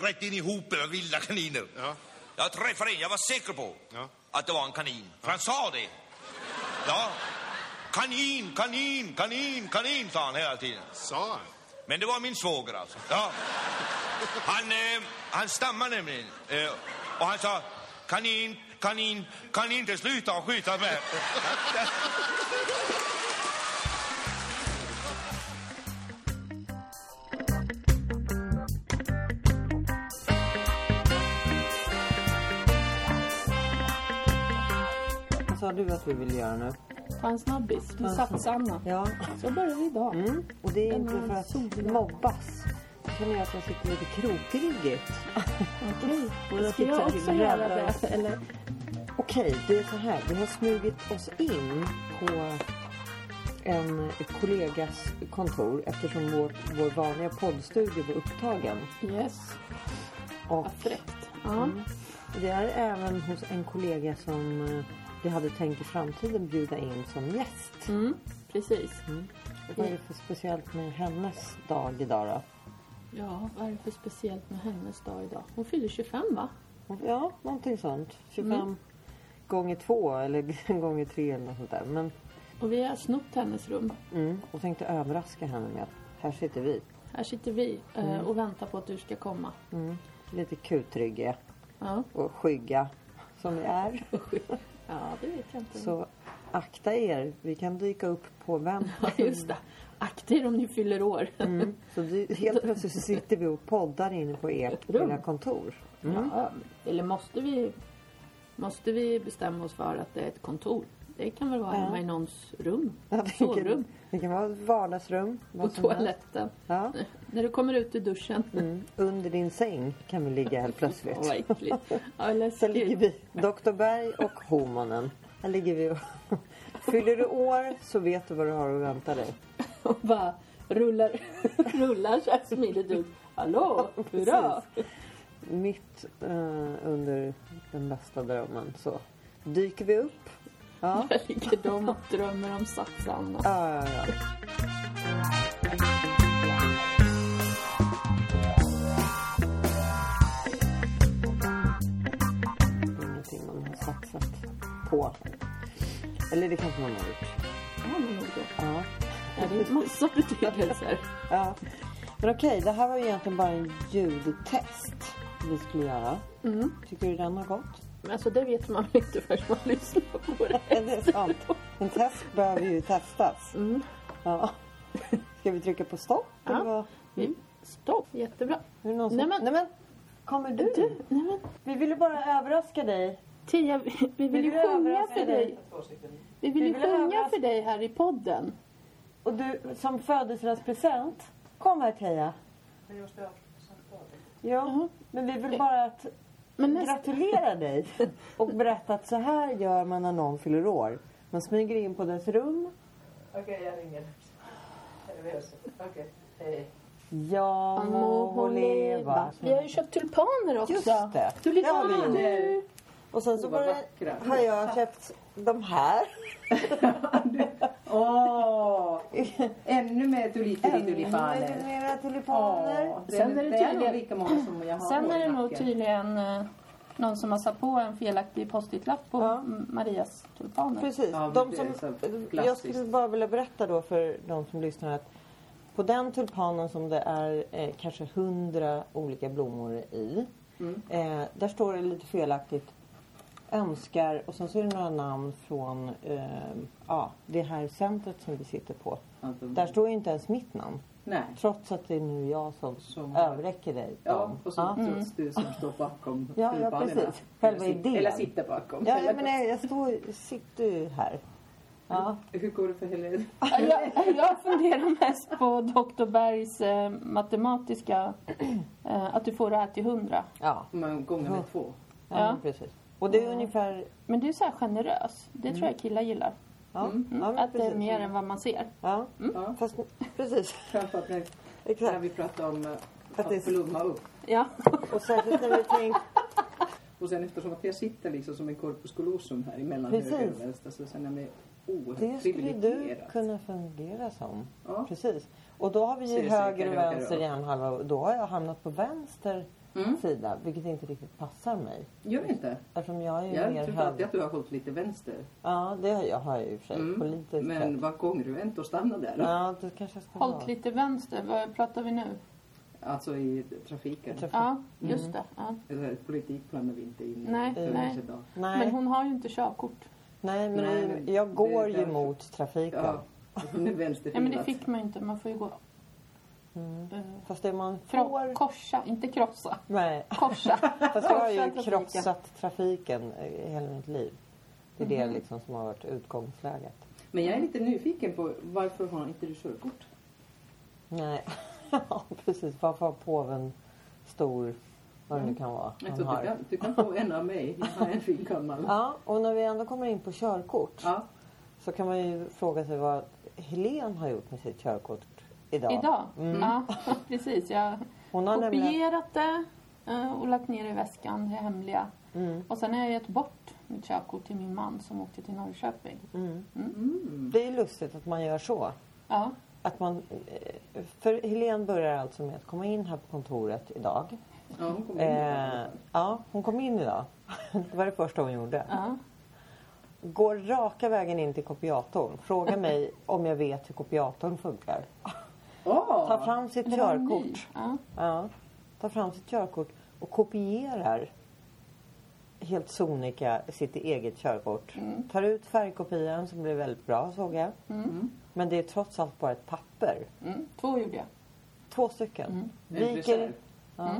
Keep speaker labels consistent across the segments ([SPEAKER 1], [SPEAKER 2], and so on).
[SPEAKER 1] rätt in i hopen av vilda kaniner.
[SPEAKER 2] Ja.
[SPEAKER 1] Jag träffade en, jag var säker på
[SPEAKER 2] Ja.
[SPEAKER 1] att det var en kanin. För han sa det. Ja. Kanin, kanin, kanin, kanin, sa han hela tiden.
[SPEAKER 2] Sa han?
[SPEAKER 1] Men det var min svåger alltså. Ja. Han, eh, han stammar nämligen. Eh, och han sa, kanin, kanin, kan inte sluta skjuta med.
[SPEAKER 3] Vad sa du att vi ville göra nu?
[SPEAKER 4] Ta en snabbis. Vi satsar, Anna.
[SPEAKER 3] Ja.
[SPEAKER 4] Så börjar vi idag.
[SPEAKER 3] Mm. Och det är
[SPEAKER 4] Den
[SPEAKER 3] inte
[SPEAKER 4] här
[SPEAKER 3] för att
[SPEAKER 4] solen.
[SPEAKER 3] mobbas. Jag känner att jag sitter lite krokryggigt.
[SPEAKER 4] Okej.
[SPEAKER 3] Och jag
[SPEAKER 4] Ska
[SPEAKER 3] tycker
[SPEAKER 4] jag
[SPEAKER 3] att vi
[SPEAKER 4] också göra
[SPEAKER 3] räddar oss.
[SPEAKER 4] det? Eller?
[SPEAKER 3] Okej, det är så här. Vi har smugit oss in på en kollegas kontor eftersom vår, vår vanliga poddstudio var upptagen.
[SPEAKER 4] Yes.
[SPEAKER 3] Och Mm.
[SPEAKER 4] Vad fräckt. Ja.
[SPEAKER 3] det är även hos en kollega som eh, vi hade tänkt i framtiden bjuda in som gäst.
[SPEAKER 4] Mm. Precis.
[SPEAKER 3] Vad är det för speciellt med hennes dag idag då?
[SPEAKER 4] Ja, vad är det för speciellt med hennes dag idag? Hon fyller 25 va?
[SPEAKER 3] Ja, någonting sånt. 25
[SPEAKER 4] Mm.
[SPEAKER 3] gånger två eller gånger tre eller något sånt där. Men,
[SPEAKER 4] Och vi har snott hennes rum.
[SPEAKER 3] mm, och tänkte överraska henne med att här sitter vi.
[SPEAKER 4] Här sitter vi eh, och väntar på att du ska komma.
[SPEAKER 3] Mm, lite kutryggiga
[SPEAKER 4] Ja.
[SPEAKER 3] och skygga som vi är.
[SPEAKER 4] ja, det vet jag inte.
[SPEAKER 3] Så akta er, vi kan dyka upp på vem.
[SPEAKER 4] Ja, just det. Akta er om ni fyller år.
[SPEAKER 3] Mm, så det, helt plötsligt så sitter vi och poddar inne på ert
[SPEAKER 4] Rum.
[SPEAKER 3] lilla kontor.
[SPEAKER 4] Ja, eller måste vi, måste vi bestämma oss för att det är ett kontor? Det kan väl vara hemma i någons rum?
[SPEAKER 3] Ja, det, kan,
[SPEAKER 4] Sovrum?
[SPEAKER 3] det kan vara ett vardagsrum. vad
[SPEAKER 4] Och
[SPEAKER 3] som helst.
[SPEAKER 4] toaletten?
[SPEAKER 3] Ja.
[SPEAKER 4] När du kommer ut ur duschen?
[SPEAKER 3] Mm, under din säng kan vi ligga helt plötsligt.
[SPEAKER 4] Åh, vad äckligt. Ja,
[SPEAKER 3] Så ligger
[SPEAKER 4] läskigt.
[SPEAKER 3] vi, Dr. Berg och Homonen. Här ligger vi och... Fyller du år så vet du vad du har att vänta dig.
[SPEAKER 4] Och bara rullar, rullar så här smidigt ut. Hallå, hurra!
[SPEAKER 3] Mitt eh, under den bästa drömmen så dyker vi upp. Ja,
[SPEAKER 4] Där ligger de och drömmer om Satsanna.
[SPEAKER 3] ja, ja. ja. Ingenting man har satsat på. Eller det kanske man har gjort.
[SPEAKER 4] Ja, men nog då.
[SPEAKER 3] Ja.
[SPEAKER 4] Ja, det är en massa betydelser.
[SPEAKER 3] Ja. Men okej, det här var ju egentligen bara en ljudtest vi skulle göra. Tycker du den har gått?
[SPEAKER 4] Men alltså det vet man väl inte förrän man lyssnar på det.
[SPEAKER 3] Ja, det är sant. En test behöver ju testas.
[SPEAKER 4] Mm.
[SPEAKER 3] Ja. Ska vi trycka på stopp? Eller vad?
[SPEAKER 4] Mm. Stopp, jättebra.
[SPEAKER 3] Är det någon som...
[SPEAKER 4] Nej, men-
[SPEAKER 3] Nej, men, kommer du?
[SPEAKER 4] Du, nej men
[SPEAKER 3] Vi ville bara överraska dig.
[SPEAKER 4] Tia, vi, vi vill ju
[SPEAKER 3] vill
[SPEAKER 4] sjunga
[SPEAKER 3] överraska
[SPEAKER 4] för
[SPEAKER 3] dig.
[SPEAKER 4] dig. Vi vill
[SPEAKER 3] Vi
[SPEAKER 4] ju
[SPEAKER 3] vill
[SPEAKER 4] sjunga
[SPEAKER 3] överraska-
[SPEAKER 4] för dig här i podden.
[SPEAKER 3] Och du, som födelsedagspresent. Kom här, Teija. Ja,
[SPEAKER 4] Jaha.
[SPEAKER 3] men vi vill bara att
[SPEAKER 4] Men näst-
[SPEAKER 3] gratulera dig och berätta att så här gör man när någon fyller år. Man smyger in på dess rum
[SPEAKER 5] Okej, jag ringer. Nervös. Okej, hej.
[SPEAKER 3] Ja må hon leva.
[SPEAKER 4] Vi har ju köpt tulpaner också.
[SPEAKER 3] Just det. Det har vi
[SPEAKER 4] Tulpaner.
[SPEAKER 3] Och sen så
[SPEAKER 5] vad
[SPEAKER 3] bara
[SPEAKER 5] vackra.
[SPEAKER 3] har jag köpt de här.
[SPEAKER 5] Åh! Ännu mer
[SPEAKER 3] Ännu
[SPEAKER 5] tulipaner.
[SPEAKER 3] mera tulipaner.
[SPEAKER 4] Sen är det tydligen-
[SPEAKER 5] lika många som jag har
[SPEAKER 4] Sen är
[SPEAKER 5] i
[SPEAKER 4] det nog
[SPEAKER 5] nacken.
[SPEAKER 4] tydligen eh, någon som har satt på en felaktig post-it-lapp på
[SPEAKER 3] Ja.
[SPEAKER 4] M- Marias tulpaner.
[SPEAKER 3] Precis.
[SPEAKER 5] Ja,
[SPEAKER 3] de
[SPEAKER 5] det
[SPEAKER 3] som,
[SPEAKER 5] är så klassiskt.
[SPEAKER 3] jag skulle bara vilja berätta då för de som lyssnar att på den tulpanen som det är eh, kanske hundra olika blommor i.
[SPEAKER 5] Mm.
[SPEAKER 3] Eh, där står det lite felaktigt önskar och sen så är det några namn från eh, ja, det här centret som vi sitter på.
[SPEAKER 5] Ja, de-
[SPEAKER 3] Där står ju inte ens mitt namn.
[SPEAKER 5] Nej.
[SPEAKER 3] Trots att det är nu jag som,
[SPEAKER 5] Som-
[SPEAKER 3] överräcker dig
[SPEAKER 5] Ja,
[SPEAKER 3] dem.
[SPEAKER 5] och så Mm.
[SPEAKER 3] ja.
[SPEAKER 5] trots du som står bakom
[SPEAKER 3] Mm. Ja, ja,
[SPEAKER 5] tulipanerna.
[SPEAKER 3] precis. Själva
[SPEAKER 5] eller, sit-
[SPEAKER 3] idén.
[SPEAKER 5] eller sitter bakom.
[SPEAKER 3] Ja,
[SPEAKER 5] Eller-
[SPEAKER 3] jag, menar, jag står, sitter ju här. Ja.
[SPEAKER 5] Hur går det för Helene?
[SPEAKER 4] Ja, Jag, jag funderar mest på Dr. Bergs eh, matematiska... Eh, att du får det här till hundra.
[SPEAKER 3] Ja,
[SPEAKER 5] Man gånger med två.
[SPEAKER 3] ja,
[SPEAKER 4] Ja.
[SPEAKER 3] men precis. Och det är ungefär...
[SPEAKER 4] Men du är så här generös. Det tror jag killar gillar.
[SPEAKER 3] Ja, Mm.
[SPEAKER 4] Mm.
[SPEAKER 3] ja, men
[SPEAKER 4] Att det är
[SPEAKER 3] precis.
[SPEAKER 4] mer än vad man ser.
[SPEAKER 3] Ja,
[SPEAKER 4] Mm.
[SPEAKER 5] Ja.
[SPEAKER 3] fast precis.
[SPEAKER 5] Framför allt när, när
[SPEAKER 3] Exakt.
[SPEAKER 5] vi pratar om eh,
[SPEAKER 3] Att det är-
[SPEAKER 5] att blomma upp.
[SPEAKER 4] Ja.
[SPEAKER 3] Och särskilt när vi tänker...
[SPEAKER 5] Och sen eftersom att jag sitter liksom som en corpus callosum här emellan
[SPEAKER 3] Precis.
[SPEAKER 5] höger och vänster så känner jag mig
[SPEAKER 3] Det
[SPEAKER 5] oerhört
[SPEAKER 3] skulle du
[SPEAKER 5] privilegierad.
[SPEAKER 3] kunna fungera som.
[SPEAKER 5] Ja.
[SPEAKER 3] Precis. Och då har vi ju
[SPEAKER 5] Ser säkert
[SPEAKER 3] höger och
[SPEAKER 5] höger
[SPEAKER 3] vänster
[SPEAKER 5] upp.
[SPEAKER 3] hjärnhalva. Och då har jag hamnat på vänster sida, vilket inte riktigt passar mig.
[SPEAKER 2] Gör inte.
[SPEAKER 3] Eftersom jag är ju
[SPEAKER 2] Jag
[SPEAKER 3] mer
[SPEAKER 2] tycker alltid
[SPEAKER 3] hög...
[SPEAKER 2] att du har hållit lite vänster. Mm.
[SPEAKER 3] Ja, det har jag, har jag i och för sig. Politiskt
[SPEAKER 2] Men
[SPEAKER 3] sett.
[SPEAKER 2] var kongruent och stanna där.
[SPEAKER 3] Ja, det kanske jag ska
[SPEAKER 4] Hållt lite vänster, vad pratar vi nu?
[SPEAKER 2] Alltså i trafiken.
[SPEAKER 3] Traf-
[SPEAKER 4] Ja, just det. Ja.
[SPEAKER 2] Eller politik planar vi inte in i
[SPEAKER 4] Nej,
[SPEAKER 2] för
[SPEAKER 4] nej.
[SPEAKER 2] oss idag.
[SPEAKER 3] Nej,
[SPEAKER 4] Men hon har ju inte körkort.
[SPEAKER 3] nej, men
[SPEAKER 2] Nej, men
[SPEAKER 3] jag
[SPEAKER 2] det
[SPEAKER 3] går
[SPEAKER 2] är
[SPEAKER 3] ju
[SPEAKER 2] därför.
[SPEAKER 3] mot trafiken.
[SPEAKER 2] Ja, hon är
[SPEAKER 4] Ja, men det
[SPEAKER 2] vänsterfilad.
[SPEAKER 4] fick man ju inte. Man får ju gå... Eh,
[SPEAKER 3] Fast det man
[SPEAKER 4] kro-
[SPEAKER 3] får...
[SPEAKER 4] Korsa, inte krossa.
[SPEAKER 3] Nej,
[SPEAKER 4] Korsa.
[SPEAKER 3] fast jag har
[SPEAKER 4] Korsa
[SPEAKER 3] ju
[SPEAKER 4] trafiken.
[SPEAKER 3] krossat trafiken eh, i hela mitt liv. Det är
[SPEAKER 4] Mhm.
[SPEAKER 3] det liksom som har varit utgångsläget.
[SPEAKER 2] Men jag är lite nyfiken på varför har inte du körkort?
[SPEAKER 3] Nej, ja, precis. Varför har påven stor, vad
[SPEAKER 4] Mm.
[SPEAKER 3] det nu kan vara,
[SPEAKER 2] Jag
[SPEAKER 3] han
[SPEAKER 2] tror Alltså, du,
[SPEAKER 3] har.
[SPEAKER 2] kan, du kan få en av mig. Jag har en fin gammal.
[SPEAKER 3] Ja, och när vi ändå kommer in på körkort
[SPEAKER 2] Ja.
[SPEAKER 3] så kan man ju fråga sig vad Helen har gjort med sitt körkort idag.
[SPEAKER 4] Idag? Ja, precis. Jag
[SPEAKER 3] Hon har
[SPEAKER 4] har
[SPEAKER 3] nämligen...
[SPEAKER 4] kopierat det eh, och lagt ner i väskan, det hemliga. Och sen har jag gett bort mitt körkort till min man som åkte till Norrköping.
[SPEAKER 2] Mm.
[SPEAKER 3] Det är lustigt att man gör så.
[SPEAKER 4] Ja.
[SPEAKER 3] Att man, eh, för Helen börjar alltså med att komma in här på kontoret idag.
[SPEAKER 2] ja, hon kommer in.
[SPEAKER 3] Eh, ja, hon kom in idag. Det var det första hon gjorde.
[SPEAKER 4] Ja.
[SPEAKER 3] Går raka vägen in till kopiatorn. Frågar mig om jag vet hur kopiatorn funkar.
[SPEAKER 2] Åh!
[SPEAKER 3] Tar fram sitt
[SPEAKER 4] Det var en ny.
[SPEAKER 3] körkort.
[SPEAKER 4] Ja.
[SPEAKER 3] Ja, tar fram sitt körkort och kopierar helt sonika sitt eget körkort.
[SPEAKER 4] Mm.
[SPEAKER 3] Tar ut färgkopian som blev väldigt bra såg jag. Men det är trots allt bara ett papper.
[SPEAKER 4] Mm. Två gjorde jag.
[SPEAKER 3] Två stycken.
[SPEAKER 4] Mm.
[SPEAKER 2] En
[SPEAKER 3] Viker,
[SPEAKER 2] reserv.
[SPEAKER 3] ja,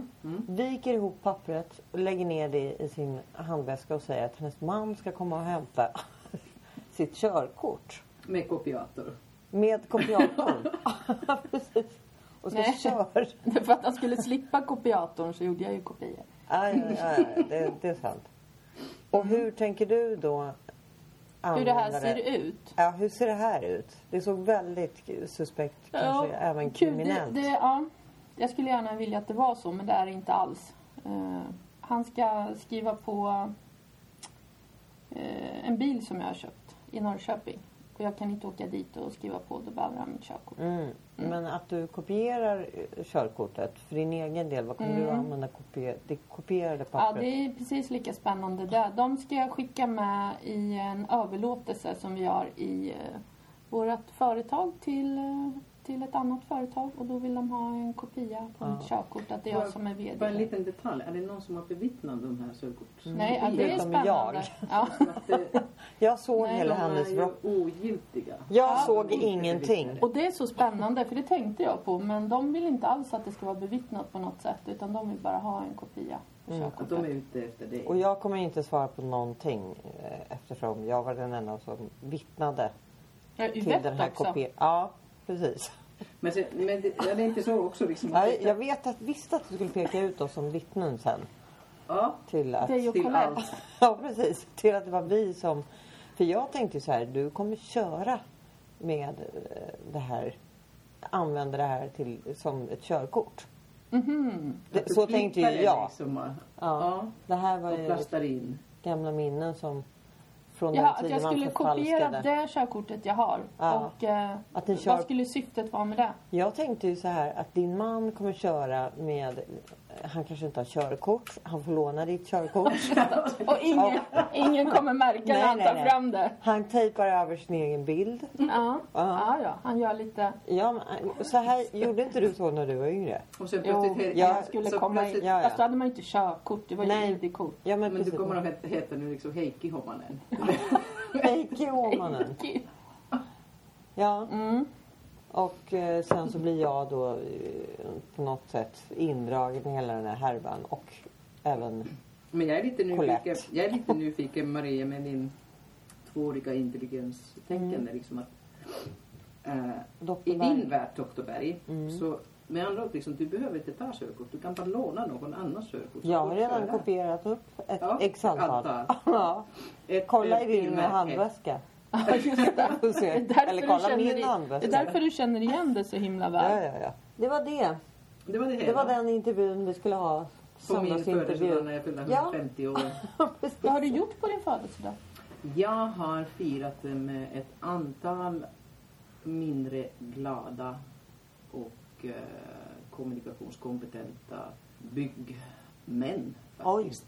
[SPEAKER 3] viker ihop pappret, lägger ner det i sin handväska och säger att hennes man ska komma och hämta sitt körkort.
[SPEAKER 2] Med kopiator.
[SPEAKER 3] Med kopiatorn. Precis. Och ska
[SPEAKER 4] Nej.
[SPEAKER 3] köra.
[SPEAKER 4] För att han skulle slippa kopiatorn så gjorde jag ju kopior.
[SPEAKER 3] Aj, aj, aj, det, det är sant. Och hur tänker du då använda
[SPEAKER 4] Hur det Mm. här ser ut.
[SPEAKER 3] Ja, hur ser det här ut? Det såg väldigt suspekt, kanske
[SPEAKER 4] Ja,
[SPEAKER 3] även
[SPEAKER 4] kul.
[SPEAKER 3] kriminellt.
[SPEAKER 4] Det, det, ja. Jag skulle gärna vilja att det var så, men det är det inte alls. Eh, han ska skriva på eh, en bil som jag har köpt i Norrköping. Och jag kan inte åka dit och skriva på, då behöver han mitt körkort.
[SPEAKER 3] Mm. Men att du kopierar eh, körkortet för din egen del, vad kommer du att använda kopie, det kopierade
[SPEAKER 4] Ja,
[SPEAKER 3] pappret?
[SPEAKER 4] det är precis lika spännande där. De ska jag skicka med i en överlåtelse som vi har i eh, vårt företag till, eh, till ett annat företag. Och då vill de ha en kopia på mitt körkort att det är jag som är VD.
[SPEAKER 2] Bara en liten detalj. Är det någon som har bevittnat de här körkorts...
[SPEAKER 3] Mm.
[SPEAKER 4] Nej, ja, det är
[SPEAKER 3] Utom
[SPEAKER 4] spännande.
[SPEAKER 3] jag.
[SPEAKER 4] Ja.
[SPEAKER 2] Att, eh,
[SPEAKER 3] Jag såg
[SPEAKER 4] Nej,
[SPEAKER 3] hela
[SPEAKER 2] de är
[SPEAKER 3] hennes
[SPEAKER 2] ju
[SPEAKER 3] rock.
[SPEAKER 2] ogiltiga.
[SPEAKER 3] Jag
[SPEAKER 2] Ja,
[SPEAKER 3] såg
[SPEAKER 2] de är inte
[SPEAKER 3] ingenting.
[SPEAKER 2] bevittnade.
[SPEAKER 4] Och det är så spännande, för det tänkte jag på. Men de vill inte alls att det ska vara bevittnat på något sätt. Utan de vill bara ha en kopia på
[SPEAKER 3] Mm.
[SPEAKER 2] Att
[SPEAKER 4] körkortet.
[SPEAKER 2] de är ute efter dig.
[SPEAKER 3] Och jag kommer inte svara på någonting eh, eftersom jag var den enda som vittnade
[SPEAKER 4] Ja,
[SPEAKER 3] till den här
[SPEAKER 4] Yvette också.
[SPEAKER 3] kopieran. Ja, precis.
[SPEAKER 2] Men, sen, men det, ja, det är inte så också liksom... att-
[SPEAKER 3] Nej, jag vet att, visste att du skulle peka ut oss som vittnen sen.
[SPEAKER 2] Ja,
[SPEAKER 3] Till att,
[SPEAKER 4] Dig och
[SPEAKER 2] till
[SPEAKER 4] Colette.
[SPEAKER 2] allt.
[SPEAKER 3] ja, precis, till att det var vi som... För jag tänkte så här, du kommer köra med eh, det här. Använda det här till, som ett körkort.
[SPEAKER 2] Mm-hmm. Att
[SPEAKER 3] Det,
[SPEAKER 2] du
[SPEAKER 3] så tänkte
[SPEAKER 2] klipper
[SPEAKER 3] ju
[SPEAKER 2] det
[SPEAKER 3] jag.
[SPEAKER 2] Liksom, ja.
[SPEAKER 3] Ja, det här var
[SPEAKER 2] och
[SPEAKER 3] ju
[SPEAKER 2] plastar in.
[SPEAKER 3] gamla minnen som... Från
[SPEAKER 4] Ja,
[SPEAKER 3] den
[SPEAKER 4] att
[SPEAKER 3] tiden
[SPEAKER 4] jag skulle
[SPEAKER 3] man
[SPEAKER 4] kopiera
[SPEAKER 3] förfalskade.
[SPEAKER 4] det körkortet jag har.
[SPEAKER 3] Ja.
[SPEAKER 4] Och eh,
[SPEAKER 3] Att ni kör-
[SPEAKER 4] vad skulle syftet vara med det?
[SPEAKER 3] Jag tänkte ju så här att din man kommer köra med... Han kanske inte har körkort. Han får låna ditt körkort.
[SPEAKER 4] Och ingen, ingen kommer märka när han tar fram det.
[SPEAKER 3] Han tejpar över sin egen bild.
[SPEAKER 4] Ja. Ja, ja, han gör lite...
[SPEAKER 3] Ja, men, eh, så här gjorde inte du så när du var yngre?
[SPEAKER 2] Och sen
[SPEAKER 4] Jo,
[SPEAKER 2] plötsligt... he-
[SPEAKER 3] jag
[SPEAKER 4] jag skulle
[SPEAKER 2] så
[SPEAKER 4] komma in.
[SPEAKER 2] plötsligt-
[SPEAKER 3] Ja, ja.
[SPEAKER 4] Fast då hade man ju inte körkort, det var ju
[SPEAKER 3] Nej.
[SPEAKER 4] ID-kort.
[SPEAKER 3] Ja, men,
[SPEAKER 2] Men du
[SPEAKER 3] precis.
[SPEAKER 2] kommer att heta- heta nu liksom Heikki Homanen.
[SPEAKER 3] Heikki Åhmanen.
[SPEAKER 4] Okej.
[SPEAKER 3] Ja.
[SPEAKER 2] Mm.
[SPEAKER 3] Och eh, sen så blir jag då eh, på något sätt indragen i hela den här härvan och även...
[SPEAKER 2] Men jag är lite nyfiken,
[SPEAKER 3] Colette.
[SPEAKER 2] jag är lite nyfiken Maria med din tvååriga intelligenstänkande.
[SPEAKER 3] Mm.
[SPEAKER 2] Liksom att, eh, I
[SPEAKER 3] Doktorberg.
[SPEAKER 2] din värld Doktorberg,
[SPEAKER 3] Mm.
[SPEAKER 2] så med andra ord, liksom, du behöver inte ta körkort. Du kan bara låna någon annans körkort.
[SPEAKER 3] Jag har
[SPEAKER 2] Och
[SPEAKER 3] redan
[SPEAKER 2] köra.
[SPEAKER 3] kopierat upp ett
[SPEAKER 2] Ja,
[SPEAKER 3] x
[SPEAKER 2] antal.
[SPEAKER 3] antal. Ja.
[SPEAKER 2] Ett,
[SPEAKER 3] Kolla
[SPEAKER 2] eh,
[SPEAKER 3] i din
[SPEAKER 2] filmer,
[SPEAKER 3] handväska.
[SPEAKER 4] Ja, just det.
[SPEAKER 3] Får se.
[SPEAKER 4] Det är därför
[SPEAKER 3] Eller
[SPEAKER 4] du
[SPEAKER 3] kolla
[SPEAKER 4] känner
[SPEAKER 3] min
[SPEAKER 4] i-
[SPEAKER 3] handväska.
[SPEAKER 4] Det är därför du känner igen det så himla
[SPEAKER 3] Ja,
[SPEAKER 4] väl.
[SPEAKER 3] ja, ja. Det var det.
[SPEAKER 2] ett. Det var det hela.
[SPEAKER 3] Det var den intervjun vi skulle ha.
[SPEAKER 2] På min födelsedag när
[SPEAKER 3] Söndagsintervju.
[SPEAKER 2] jag fyllde
[SPEAKER 3] Ja.
[SPEAKER 2] 150 år.
[SPEAKER 3] Precis.
[SPEAKER 4] Vad har du gjort på din födelsedag?
[SPEAKER 2] Jag har firat det med ett antal mindre glada och eh, kommunikationskompetenta bygg män.
[SPEAKER 3] Oj.
[SPEAKER 2] faktiskt.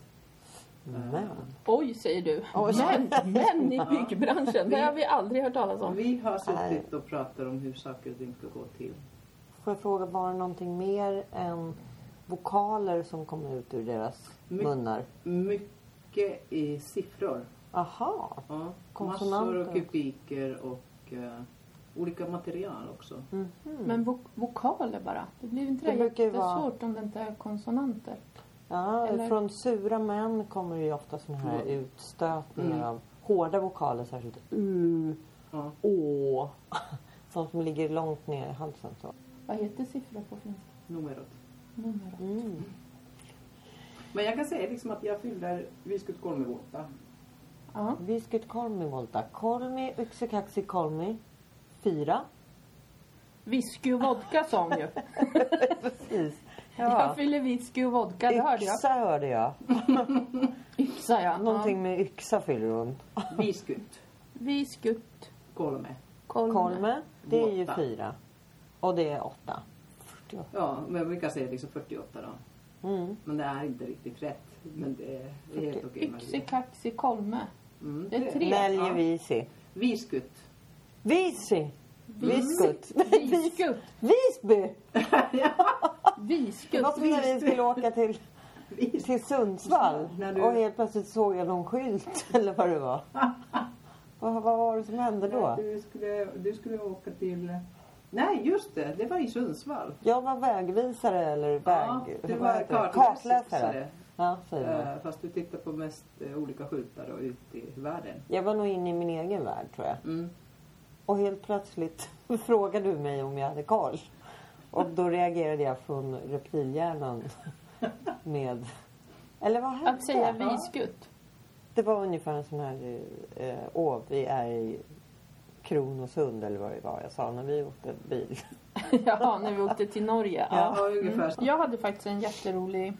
[SPEAKER 3] Men.
[SPEAKER 4] Oj, säger du.
[SPEAKER 3] Oj.
[SPEAKER 4] Men, men i byggbranschen, det har vi aldrig hört talas om.
[SPEAKER 2] Vi har suttit och pratat om hur saker och ting ska gå till.
[SPEAKER 3] Får jag fråga, var det någonting mer än vokaler som kom ut ur deras
[SPEAKER 2] My-
[SPEAKER 3] munnar?
[SPEAKER 2] Mycket i siffror.
[SPEAKER 3] Aha.
[SPEAKER 2] Ja. Massor
[SPEAKER 3] Konsonanter.
[SPEAKER 2] och kubiker och eh, olika material också.
[SPEAKER 4] Men vo- vokaler bara. Det blir inte det,
[SPEAKER 3] Det brukar ju vara-
[SPEAKER 4] jättesvårt om det inte är konsonanter.
[SPEAKER 3] Ja,
[SPEAKER 4] Eller-
[SPEAKER 3] från sura män kommer ju ofta såna här
[SPEAKER 2] Mm.
[SPEAKER 3] utstötningar
[SPEAKER 2] Mm.
[SPEAKER 3] av hårda vokaler, särskilt u,
[SPEAKER 2] Ja.
[SPEAKER 3] å. Sånt som ligger långt ner i halsen. Så.
[SPEAKER 4] Vad heter siffror på finska?
[SPEAKER 2] Numerot.
[SPEAKER 4] Numera.
[SPEAKER 3] Mm.
[SPEAKER 2] Men jag kan säga liksom att jag fyller viskuttkolmivåta.
[SPEAKER 4] Ja.
[SPEAKER 3] Viskut kolmi volta. Kolmi, yxekaxi kolmi. Fyra.
[SPEAKER 4] Whisky och vodka sa hon ju.
[SPEAKER 3] Precis.
[SPEAKER 4] Jag
[SPEAKER 3] Ja.
[SPEAKER 4] fyller whisky och vodka, det hörde jag.
[SPEAKER 3] Yxa hörde jag.
[SPEAKER 4] Yxa, ja.
[SPEAKER 3] Någonting med yxa fyller hon.
[SPEAKER 2] Viskutt.
[SPEAKER 4] Viskutt.
[SPEAKER 2] Kolme.
[SPEAKER 4] Kolme.
[SPEAKER 3] Kolme, det är ju
[SPEAKER 2] Åtta.
[SPEAKER 3] fyra. Och det är åtta. 48.
[SPEAKER 2] Ja, men vi kan säga liksom 48 då.
[SPEAKER 3] Mm.
[SPEAKER 2] Men det är inte riktigt rätt. Men det är, det är helt okej.
[SPEAKER 4] Yxi,
[SPEAKER 2] Maria.
[SPEAKER 4] kaxi, kolme.
[SPEAKER 2] Mm.
[SPEAKER 4] Det är tre.
[SPEAKER 3] Väljer
[SPEAKER 4] Ja.
[SPEAKER 3] visi.
[SPEAKER 2] Viskutt.
[SPEAKER 3] Visi! Viskut.
[SPEAKER 4] Viskutt.
[SPEAKER 3] Visby! Det var
[SPEAKER 4] Viskutt.
[SPEAKER 3] som när vi skulle åka till,
[SPEAKER 2] Vis-
[SPEAKER 3] till Sundsvall
[SPEAKER 2] När du-
[SPEAKER 3] och helt plötsligt såg jag någon skylt eller vad det var. Vad, vad var det som hände då?
[SPEAKER 2] Du skulle, du skulle åka till... Nej, just det. Det var i Sundsvall.
[SPEAKER 3] Jag var vägvisare eller
[SPEAKER 2] Ja,
[SPEAKER 3] väg...
[SPEAKER 2] det
[SPEAKER 3] vad
[SPEAKER 2] var
[SPEAKER 3] heter det?
[SPEAKER 2] kartläsare.
[SPEAKER 3] Ja, säger man.
[SPEAKER 2] Eh, Fast du tittar på mest eh, olika skyltar då, ute i världen.
[SPEAKER 3] Jag var nog inne i min egen värld tror jag.
[SPEAKER 2] Mm.
[SPEAKER 3] Och helt plötsligt frågade du mig om jag hade koll. Och då reagerade jag från reptilhjärnan med... Eller vad hände?
[SPEAKER 4] Att säga viskutt.
[SPEAKER 3] Det var ungefär en sån här... eh, Åh, vi är i Kronosund eller vad det var jag sa när vi åkte bil.
[SPEAKER 4] Ja, när vi åkte till Norge. Ja.
[SPEAKER 2] Ja, ungefär så.
[SPEAKER 4] Jag hade faktiskt en jätterolig...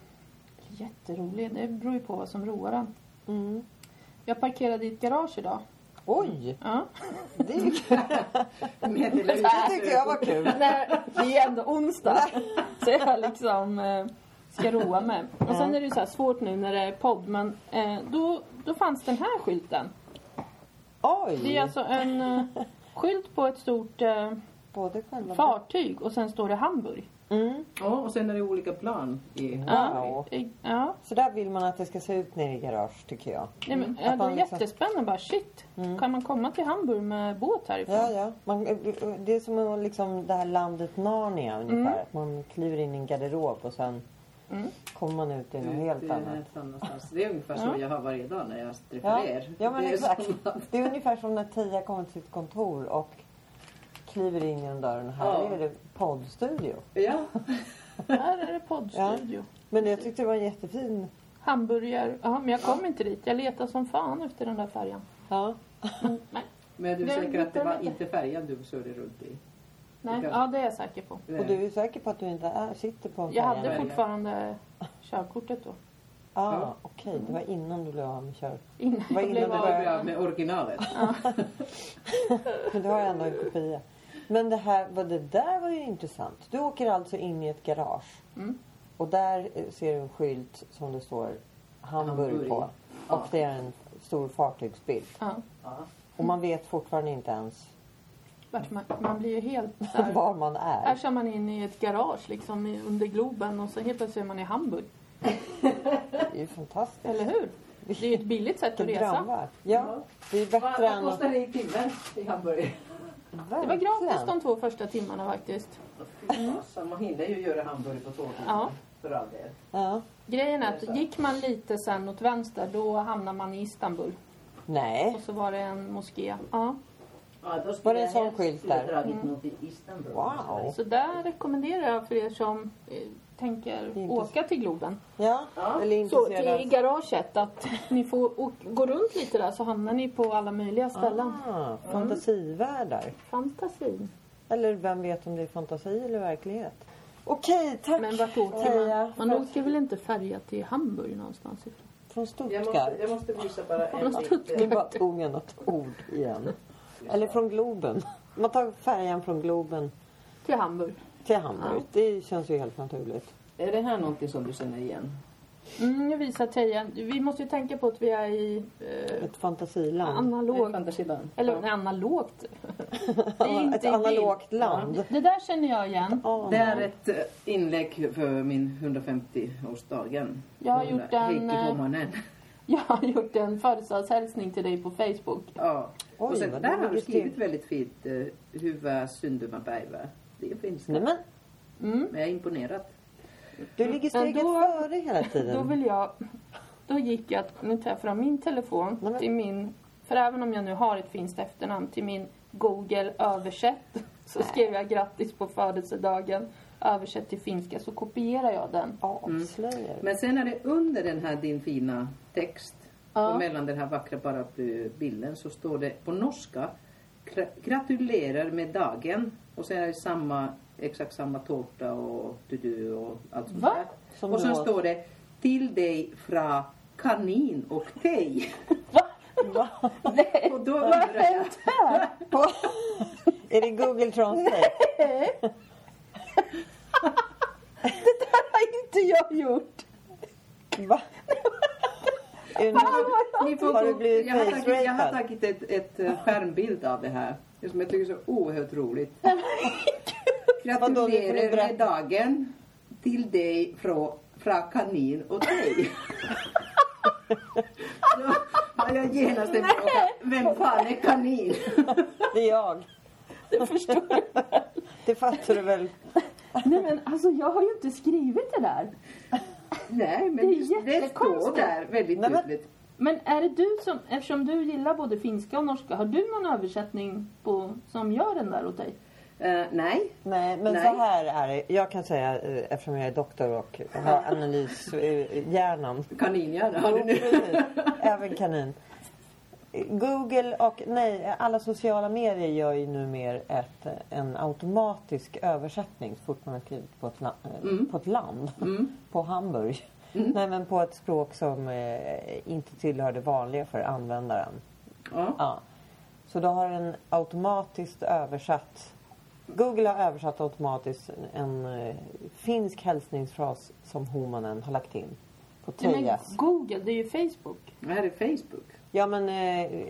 [SPEAKER 4] Jätterolig? Det beror ju på vad som roar en.
[SPEAKER 3] Mm.
[SPEAKER 4] Jag parkerade i ett garage idag.
[SPEAKER 3] Oj!
[SPEAKER 4] Ja.
[SPEAKER 3] Det, är ju kul.
[SPEAKER 2] Meddelar ut-
[SPEAKER 3] det tyckte jag var kul.
[SPEAKER 4] Nej, det är ändå onsdag. Så jag liksom eh, ska roa mig. Och sen är det ju så här svårt nu när det är podd. Men eh, då, då fanns den här skylten. Det är
[SPEAKER 3] Oj!
[SPEAKER 4] alltså en eh, skylt på ett stort eh,
[SPEAKER 3] Både själva...
[SPEAKER 4] fartyg och sen står det Hamburg.
[SPEAKER 3] Mm.
[SPEAKER 2] Ja, och sen är det olika plan. I...
[SPEAKER 3] Wow.
[SPEAKER 4] Ja. ja.
[SPEAKER 3] Så där vill man att det ska se ut nere i garage tycker jag.
[SPEAKER 4] Nej, men,
[SPEAKER 3] Att
[SPEAKER 4] ja, det är
[SPEAKER 3] man liksom-
[SPEAKER 4] jättespännande. Bara, shit, kan man komma till Hamburg med båt härifrån?
[SPEAKER 3] Ja, ja. Man, det är som att liksom det här landet Narnia ungefär. Att man kliver in i en garderob och sen kommer man ut i något helt
[SPEAKER 2] Ute i
[SPEAKER 3] annat.
[SPEAKER 2] ett annanstans. Det är ungefär så jag har varje dag när jag träffar
[SPEAKER 3] Ja,
[SPEAKER 2] er.
[SPEAKER 3] ja men
[SPEAKER 2] det är
[SPEAKER 3] exakt.
[SPEAKER 2] som att-
[SPEAKER 3] Det är ungefär som när Tia kommer till sitt kontor och kliver in genom dörren. Här
[SPEAKER 2] Ja.
[SPEAKER 3] är det poddstudio.
[SPEAKER 2] Ja,
[SPEAKER 4] Här är det poddstudio.
[SPEAKER 3] Men jag tyckte det var en jättefin.
[SPEAKER 4] Hamburgare. Ja, men jag kom inte dit. Jag letade som fan efter den där färjan.
[SPEAKER 3] Ja.
[SPEAKER 4] Nej,
[SPEAKER 2] men är du
[SPEAKER 4] Det är
[SPEAKER 2] säker att det
[SPEAKER 4] lite
[SPEAKER 2] var
[SPEAKER 4] lite.
[SPEAKER 2] inte färjan du surrade runt i?
[SPEAKER 4] nej.
[SPEAKER 2] Det kan-
[SPEAKER 4] Ja, det är jag säker på.
[SPEAKER 3] Och du är säker på att du inte är, sitter på en
[SPEAKER 4] Jag
[SPEAKER 3] färja?
[SPEAKER 4] hade
[SPEAKER 2] färjan.
[SPEAKER 4] fortfarande körkortet då.
[SPEAKER 3] ah, Okej, det var innan du blev av med kör.
[SPEAKER 4] Innan
[SPEAKER 3] Vad
[SPEAKER 4] jag blev
[SPEAKER 3] innebär
[SPEAKER 4] av.
[SPEAKER 3] det?
[SPEAKER 2] börjar med originalet.
[SPEAKER 3] Men du har ändå en kopia. Men det här, vad det där var ju intressant. Du åker alltså in i ett garage.
[SPEAKER 4] Mm.
[SPEAKER 3] Och där eh, ser du en skylt som det står Hamburg,
[SPEAKER 2] Hamburg.
[SPEAKER 3] på. Och det är en stor fartygsbild.
[SPEAKER 4] Ja.
[SPEAKER 3] Och man vet fortfarande inte ens
[SPEAKER 4] Vart man, man blir ju helt så här.
[SPEAKER 3] var man
[SPEAKER 4] Här
[SPEAKER 3] är.
[SPEAKER 4] kör man in i ett garage liksom i- under Globen och så helt plötsligt är man i Hamburg.
[SPEAKER 3] Det är ju fantastiskt.
[SPEAKER 4] Eller hur? Det är ju ett billigt sätt att
[SPEAKER 3] Vilken
[SPEAKER 4] resa.
[SPEAKER 3] drömvar. Ja, det är ju
[SPEAKER 2] Vad
[SPEAKER 3] bättre
[SPEAKER 2] vad
[SPEAKER 3] än att...
[SPEAKER 2] kostar det i timmen i Hamburg?
[SPEAKER 4] Det var gratis de två första timmarna faktiskt.
[SPEAKER 3] Mm.
[SPEAKER 2] Så man hinner ju göra Hamburg på tåget.
[SPEAKER 4] Ja.
[SPEAKER 2] För all del.
[SPEAKER 3] Ja.
[SPEAKER 4] Grejen är att gick man lite sen åt vänster då hamnar man i Istanbul.
[SPEAKER 3] Nej.
[SPEAKER 4] Och så var det en moské. Ja.
[SPEAKER 5] Ja, då skulle
[SPEAKER 3] Var det en
[SPEAKER 5] jag
[SPEAKER 3] sån
[SPEAKER 5] helst
[SPEAKER 3] skylt
[SPEAKER 5] skulle
[SPEAKER 3] där? Mm.
[SPEAKER 5] dragit något i Istanbul.
[SPEAKER 3] Wow.
[SPEAKER 4] Så där rekommenderar jag för er som eh, tänker
[SPEAKER 3] är inte
[SPEAKER 4] åka till Globen.
[SPEAKER 3] Ja, eller
[SPEAKER 4] Så i
[SPEAKER 3] intresserad.
[SPEAKER 4] garaget att ni får å- gå runt lite där så hamnar ni på alla möjliga ställen.
[SPEAKER 3] Ah,
[SPEAKER 4] Mm.
[SPEAKER 3] fantasivärldar.
[SPEAKER 4] Fantasin.
[SPEAKER 3] Eller vem vet om det är fantasi eller verklighet. Okej, tack
[SPEAKER 4] Men vart åker
[SPEAKER 3] Teija.
[SPEAKER 4] man? Man åker väl inte färja till Hamburg någonstans ifrån?
[SPEAKER 3] Från
[SPEAKER 5] Jag måste,
[SPEAKER 3] Stuttgart.
[SPEAKER 5] jag måste visa bara en
[SPEAKER 4] Från
[SPEAKER 5] bild.
[SPEAKER 3] Nu bara tog jag något ord igen. Eller från Globen. Man tar färjan från Globen
[SPEAKER 4] Till Hamburg.
[SPEAKER 3] till Hamburg. Det känns ju helt naturligt.
[SPEAKER 2] Är det här någonting som du känner igen?
[SPEAKER 4] Mm, jag visar tröjan. Vi måste ju tänka på att vi är i eh,
[SPEAKER 3] Ett fantasiland.
[SPEAKER 2] Låg
[SPEAKER 4] analog...
[SPEAKER 2] fantasiland.
[SPEAKER 4] Eller
[SPEAKER 2] Ja.
[SPEAKER 4] nej, analogt. Det är inte i
[SPEAKER 3] Ett
[SPEAKER 4] bild.
[SPEAKER 3] analogt land.
[SPEAKER 4] Det där känner jag igen.
[SPEAKER 3] Ja,
[SPEAKER 2] Det är
[SPEAKER 3] men-
[SPEAKER 2] ett eh, inlägg för min 150-årsdagen.
[SPEAKER 4] Jag har gjort en,
[SPEAKER 2] Heikki
[SPEAKER 4] eh,
[SPEAKER 2] Homanen.
[SPEAKER 4] Jag har gjort en födelsedagshälsning till dig på Facebook.
[SPEAKER 2] Ja.
[SPEAKER 3] Oj,
[SPEAKER 2] och sen,
[SPEAKER 3] vad
[SPEAKER 2] där har du
[SPEAKER 3] roligt.
[SPEAKER 2] skrivit väldigt fint. eh, Hyvä syntymäpäivä. Det är finska.
[SPEAKER 3] Nej, men
[SPEAKER 4] Mm.
[SPEAKER 2] Men jag är imponerad.
[SPEAKER 3] du ligger steget
[SPEAKER 4] Ändå-
[SPEAKER 3] före hela
[SPEAKER 4] Mm. Då
[SPEAKER 3] tiden.
[SPEAKER 4] vill jag... Då gick jag... Nu tar jag fram min telefon
[SPEAKER 3] Nej, men-
[SPEAKER 4] till min... För även om jag nu har ett finskt efternamn till min Google översätt så skrev jag grattis på födelsedagen översätt till finska så kopierar jag den.
[SPEAKER 3] Avslöjar.
[SPEAKER 4] Mm.
[SPEAKER 2] Men sen är det under den här din fina text
[SPEAKER 4] Ja.
[SPEAKER 2] och mellan den här vackra paraplybilden så står det på norska "Gra- gratulerar med dagen och sen är det samma, exakt samma tårta och tudu och allt sånt
[SPEAKER 4] Va?
[SPEAKER 2] där.
[SPEAKER 3] Som
[SPEAKER 2] och
[SPEAKER 3] du
[SPEAKER 2] sen
[SPEAKER 3] åt.
[SPEAKER 2] står det till dig från kanin och tej.
[SPEAKER 4] Nej.
[SPEAKER 2] Och då undrar jag,
[SPEAKER 3] Är det Google Translate?
[SPEAKER 4] Det där har inte jag gjort.
[SPEAKER 3] Va? Är det någon-
[SPEAKER 2] ni får,
[SPEAKER 3] Har du
[SPEAKER 2] gå-
[SPEAKER 3] blivit
[SPEAKER 2] jag, har tagit, jag har
[SPEAKER 3] face-rapad?
[SPEAKER 2] tagit ett, ett eh, skärmbild av det här det som jag tycker är så oerhört roligt.
[SPEAKER 3] Vadå, det får du
[SPEAKER 2] Gratulerar
[SPEAKER 3] berätta.
[SPEAKER 2] med dagen till dig från, från kanin och dig. Då har jag genast en fråga. Vem fan är kanin?
[SPEAKER 3] Det är jag.
[SPEAKER 4] Det förstår jag.
[SPEAKER 3] Det fattar du väl?
[SPEAKER 4] Nej men alltså jag har ju inte skrivit det där.
[SPEAKER 2] Nej,
[SPEAKER 4] Det är
[SPEAKER 2] men just det står
[SPEAKER 4] jättekonstigt.
[SPEAKER 2] där väldigt
[SPEAKER 3] Nej, men-
[SPEAKER 2] tydligt.
[SPEAKER 4] Men är det du som, eftersom du gillar både finska och norska, har du någon översättning på, som gör den där åt dig?
[SPEAKER 2] Eh, nej,
[SPEAKER 3] Nej, men
[SPEAKER 2] Nej.
[SPEAKER 3] så här är det. Jag kan säga, eh, eftersom jag är doktor och har analyshjärnan.
[SPEAKER 2] kaninhjärna har du
[SPEAKER 3] Jo,
[SPEAKER 2] nu.
[SPEAKER 3] precis. Även kanin. Google och nej, alla sociala medier gör ju numera ett, en automatisk översättning så fort man har skrivit på ett, la- eh, på ett land. På Hamburg. Nej, men på ett språk som eh, inte tillhör det vanliga för användaren.
[SPEAKER 2] Ja.
[SPEAKER 3] Ja. Så då har den automatiskt översatt Google har översatt automatiskt en eh, finsk hälsningsfras som Homanen har lagt in på
[SPEAKER 4] Nej, men
[SPEAKER 3] Tejas.
[SPEAKER 4] Google, det är ju Facebook.
[SPEAKER 2] Det här är Facebook.
[SPEAKER 3] Ja, men eh,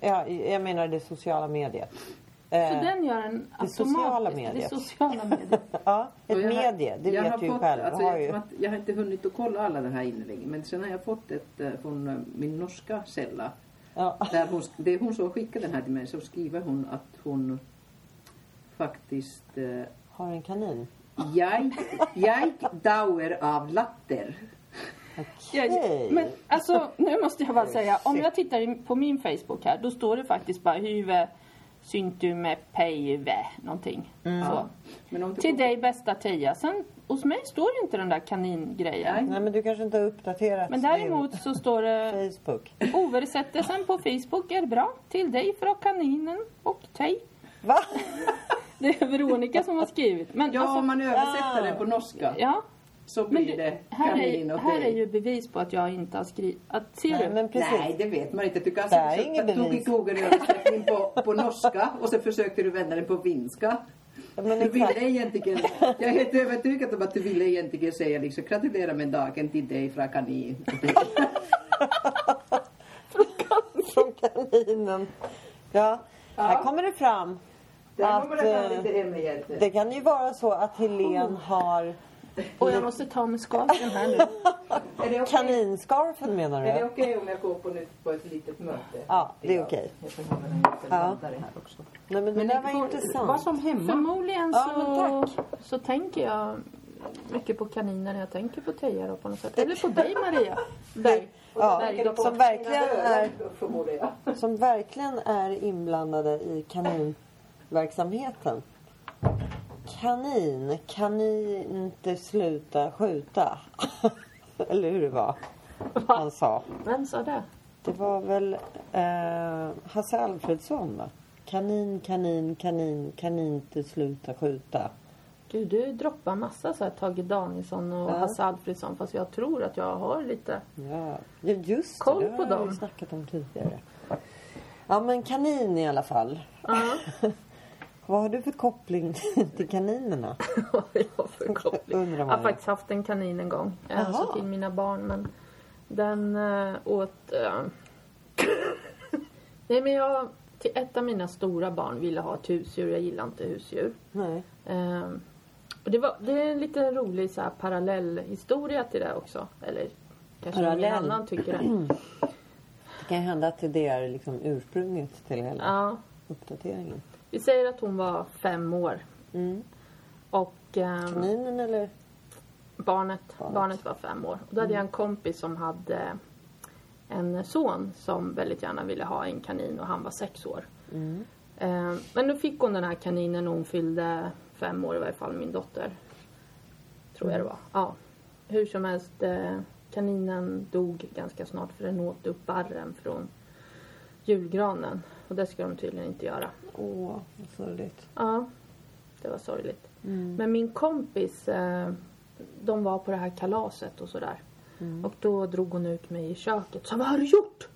[SPEAKER 3] ja, jag menar det sociala mediet.
[SPEAKER 4] Så
[SPEAKER 3] Eh,
[SPEAKER 4] den gör en automatisk...
[SPEAKER 3] sociala
[SPEAKER 4] Det
[SPEAKER 3] mediet.
[SPEAKER 4] sociala mediet.
[SPEAKER 3] ja, ett
[SPEAKER 2] Och jag har-
[SPEAKER 3] medie, det
[SPEAKER 2] jag
[SPEAKER 3] vet
[SPEAKER 2] har
[SPEAKER 3] du ju
[SPEAKER 2] fått-
[SPEAKER 3] själv.
[SPEAKER 2] Alltså,
[SPEAKER 3] har
[SPEAKER 2] jag,
[SPEAKER 3] ju,
[SPEAKER 2] att jag har inte hunnit att kolla alla de här inläggen men sen har jag fått ett eh, från eh, min norska källa.
[SPEAKER 3] ja,
[SPEAKER 2] Där hon, det är hon som skickade den här till mig så skriver hon att hon faktiskt eh,
[SPEAKER 3] har en kanin.
[SPEAKER 2] jag, jag dauer av latter.
[SPEAKER 4] Ja,
[SPEAKER 3] Hej.
[SPEAKER 4] Men alltså, nu måste jag bara säga. Om jag tittar i- på min Facebook här, då står det faktiskt bara Hyve syntyme päive någonting.
[SPEAKER 2] Mm.
[SPEAKER 4] Så.
[SPEAKER 2] Men om du-
[SPEAKER 4] Till dig bästa Teija. Sen hos mig står ju inte den där kaningrejen.
[SPEAKER 2] Nej.
[SPEAKER 3] Nej, men du kanske inte har uppdaterat
[SPEAKER 4] Men däremot så står det
[SPEAKER 3] din Facebook.
[SPEAKER 4] översättelsen på Facebook är bra. Till dig från kaninen och Tej.
[SPEAKER 3] Va?
[SPEAKER 4] Det är Veronica som har skrivit. Men
[SPEAKER 2] Ja,
[SPEAKER 4] alltså,
[SPEAKER 2] om man översätter
[SPEAKER 3] ja.
[SPEAKER 2] den på norska
[SPEAKER 4] ja.
[SPEAKER 2] så
[SPEAKER 4] Men
[SPEAKER 2] blir
[SPEAKER 4] du,
[SPEAKER 2] det
[SPEAKER 4] här,
[SPEAKER 2] kanin
[SPEAKER 4] är,
[SPEAKER 2] och
[SPEAKER 4] här är
[SPEAKER 2] dig.
[SPEAKER 4] ju bevis på att jag inte har skrivit... att- Ser
[SPEAKER 3] Nej,
[SPEAKER 4] du?
[SPEAKER 3] men precis.
[SPEAKER 2] Nej, det vet man inte. Du
[SPEAKER 3] Det här är
[SPEAKER 2] kanske
[SPEAKER 3] inget
[SPEAKER 2] tog i
[SPEAKER 3] bevis.
[SPEAKER 2] Google-översättning på, på norska och sen försökte du vända den på finska.
[SPEAKER 3] Ja, men
[SPEAKER 2] Du ville
[SPEAKER 3] exakt.
[SPEAKER 2] egentligen, jag är helt övertygad om att du ville egentligen säga liksom gratulera med dagen till dig från kanin.
[SPEAKER 3] Från kaninen. Ja, här kommer det fram.
[SPEAKER 2] Där
[SPEAKER 3] Att,
[SPEAKER 2] kommer det fram
[SPEAKER 3] eh,
[SPEAKER 2] lite ämne igen.
[SPEAKER 3] Det kan ju vara så att
[SPEAKER 2] Oh.
[SPEAKER 3] Helen har
[SPEAKER 4] Och jag måste ta med skavlen här nu.
[SPEAKER 2] Är det okej
[SPEAKER 3] kaninscarfen menar
[SPEAKER 2] är det
[SPEAKER 3] du?
[SPEAKER 2] okej om jag går på, nytt på ett litet möte?
[SPEAKER 3] Ja, det är okej.
[SPEAKER 2] Jag behöver en liten
[SPEAKER 3] Ja.
[SPEAKER 2] laddare här också.
[SPEAKER 3] Nej, men det där var
[SPEAKER 2] Var
[SPEAKER 3] intressant.
[SPEAKER 2] som hemma.
[SPEAKER 4] Förmodligen
[SPEAKER 3] Ja,
[SPEAKER 4] så,
[SPEAKER 3] men
[SPEAKER 4] så tänker jag mycket på kaniner när jag tänker på Teija då på något sätt. Eller på dig Maria. Berg.
[SPEAKER 3] Ja,
[SPEAKER 4] Bergdopp.
[SPEAKER 3] som verkligen är
[SPEAKER 2] Förmodar jag.
[SPEAKER 3] som verkligen är inblandade i kaninverksamheten. Kanin, kan ni inte sluta skjuta? Eller hur det var han sa.
[SPEAKER 4] Vem sa det?
[SPEAKER 3] Det var väl eh, Hasse Alfredsson va? Kanin, kanin, kanin, kan ni inte sluta skjuta?
[SPEAKER 4] Gud, du droppar massa så här Tage Danielsson och
[SPEAKER 3] Ja.
[SPEAKER 4] Hasse Alfredsson fast jag tror att jag har lite.
[SPEAKER 3] Ja, ja, just
[SPEAKER 4] Koll
[SPEAKER 3] det. Det
[SPEAKER 4] på
[SPEAKER 3] har jag
[SPEAKER 4] dem.
[SPEAKER 3] ju snackat om tidigare. Ja, men kanin i alla fall.
[SPEAKER 4] Ja.
[SPEAKER 3] Vad har du för koppling till kaninerna?
[SPEAKER 4] Vad jag har för koppling.
[SPEAKER 3] Undrar
[SPEAKER 4] Jag
[SPEAKER 3] man
[SPEAKER 4] har
[SPEAKER 3] ju.
[SPEAKER 4] faktiskt haft en kanin en gång. eh, Alltså
[SPEAKER 3] Jaha.
[SPEAKER 4] till mina barn. Men den eh, åt... eh, Nej men jag... Till ett av mina stora barn ville ha ett husdjur. Jag gillar inte husdjur.
[SPEAKER 3] Nej.
[SPEAKER 4] Ehm, och det, var, det är en lite rolig så här, parallellhistoria till det också. Eller kanske
[SPEAKER 3] Parallell.
[SPEAKER 4] ingen annan tycker det.
[SPEAKER 3] Det kan ju hända att det är liksom ursprunget till hela
[SPEAKER 4] Ja,
[SPEAKER 3] uppdateringen.
[SPEAKER 4] vi säger att hon var fem år. Och ehm,
[SPEAKER 3] Kaninen eller?
[SPEAKER 4] barnet,
[SPEAKER 3] Barnet.
[SPEAKER 4] barnet. var fem år. Och då hade jag en kompis som hade en son som väldigt gärna ville ha en kanin och han var sex år. Eh, Men då fick hon den här kaninen när hon fyllde fem år i varje fall, min dotter. Tror jag det var. Ja. Hur som helst, eh, kaninen dog ganska snart för den åt upp barren från julgranen. Och det ska de tydligen inte göra.
[SPEAKER 3] Åh, vad sorgligt.
[SPEAKER 4] Ja, det var sorgligt.
[SPEAKER 3] Mm.
[SPEAKER 4] Men min kompis, eh, de var på det här kalaset och sådär.
[SPEAKER 3] Mm.
[SPEAKER 4] Och då drog hon ut mig i köket och sa, vad har du gjort?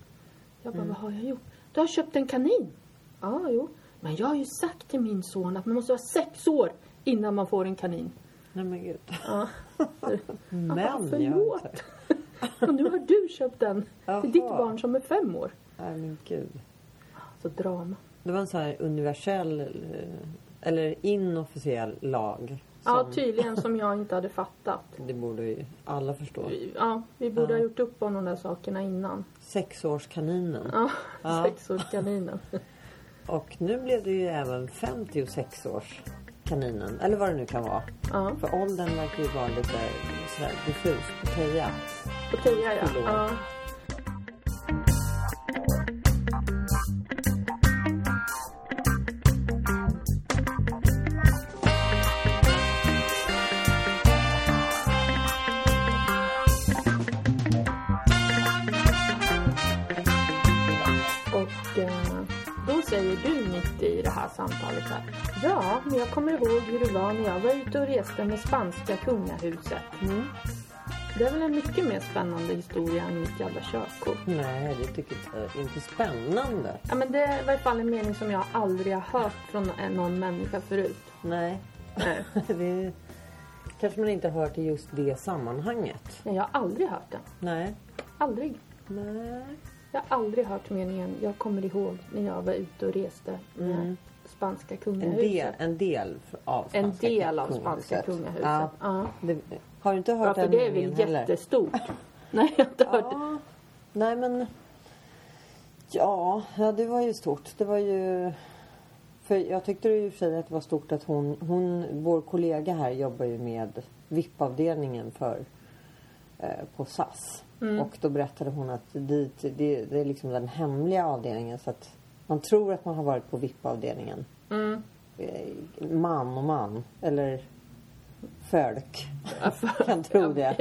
[SPEAKER 4] Jag
[SPEAKER 3] Mm.
[SPEAKER 4] bara, vad har jag gjort? Du har köpt en kanin. Ja, jo. Men jag har ju sagt till min son att man måste vara sex år innan man får en kanin.
[SPEAKER 3] Nej men gud.
[SPEAKER 4] Ja. Men,
[SPEAKER 3] Men, ja.
[SPEAKER 4] förlåt. och nu har du köpt den till ditt
[SPEAKER 3] Jaha.
[SPEAKER 4] barn som är fem år.
[SPEAKER 3] Nej men gud.
[SPEAKER 4] Så drama.
[SPEAKER 3] Det var en sån här universell eh, eller inofficiell lag.
[SPEAKER 4] Ja,
[SPEAKER 3] som
[SPEAKER 4] tydligen som jag inte hade fattat.
[SPEAKER 3] Det borde ju alla förstå.
[SPEAKER 4] Ja, vi borde ha gjort upp om de där sakerna innan.
[SPEAKER 3] Sexårskaninen.
[SPEAKER 4] Ja,
[SPEAKER 3] Ja.
[SPEAKER 4] sexårskaninen.
[SPEAKER 3] Och nu blev det ju även 56-årskaninen. Eller vad det nu kan vara.
[SPEAKER 4] Ja,
[SPEAKER 3] För åldern verkar ju vara lite sådär diffus. Teja.
[SPEAKER 4] på Teja ja. ja. Och eh, då säger du mitt i det här samtalet här. Ja, men jag kommer ihåg hur det var när jag var ute och reste med spanska kungahuset. Det är väl en mycket mer spännande historia än mitt jävla körkort.
[SPEAKER 3] Nej, det tycker jag inte är spännande.
[SPEAKER 4] Ja, men det var i alla fall en mening som jag aldrig har hört från en- någon människa förut.
[SPEAKER 3] Nej.
[SPEAKER 4] Nej.
[SPEAKER 3] det kanske man inte har hört i just det sammanhanget.
[SPEAKER 4] Nej, jag har aldrig hört den.
[SPEAKER 3] Nej.
[SPEAKER 4] Aldrig.
[SPEAKER 3] Nej.
[SPEAKER 4] Jag har aldrig hört meningen jag kommer ihåg när jag var ute och reste med spanska
[SPEAKER 3] Mm. En del,
[SPEAKER 4] kungahuset.
[SPEAKER 3] en del f- av
[SPEAKER 4] En
[SPEAKER 3] spanska
[SPEAKER 4] del av
[SPEAKER 3] kungahuset.
[SPEAKER 4] spanska kungahuset.
[SPEAKER 3] Ja.
[SPEAKER 4] Ja.
[SPEAKER 3] Det, har du inte hört
[SPEAKER 4] Ja, för
[SPEAKER 3] den
[SPEAKER 4] det är
[SPEAKER 3] meningen
[SPEAKER 4] väl
[SPEAKER 3] heller?
[SPEAKER 4] jättestort. Nej, jag har inte hört det.
[SPEAKER 3] Ja, nej men... Ja, ja, det var ju stort. Det var ju... För jag tyckte ju i och för sig att det var stort att hon, hon vår kollega här jobbar ju med VIP-avdelningen för eh, på SAS. Och då berättade hon att dit, det, det är liksom den hemliga avdelningen så att man tror att man har varit på VIP-avdelningen. Eh, Man och man, eller folk kan tro det.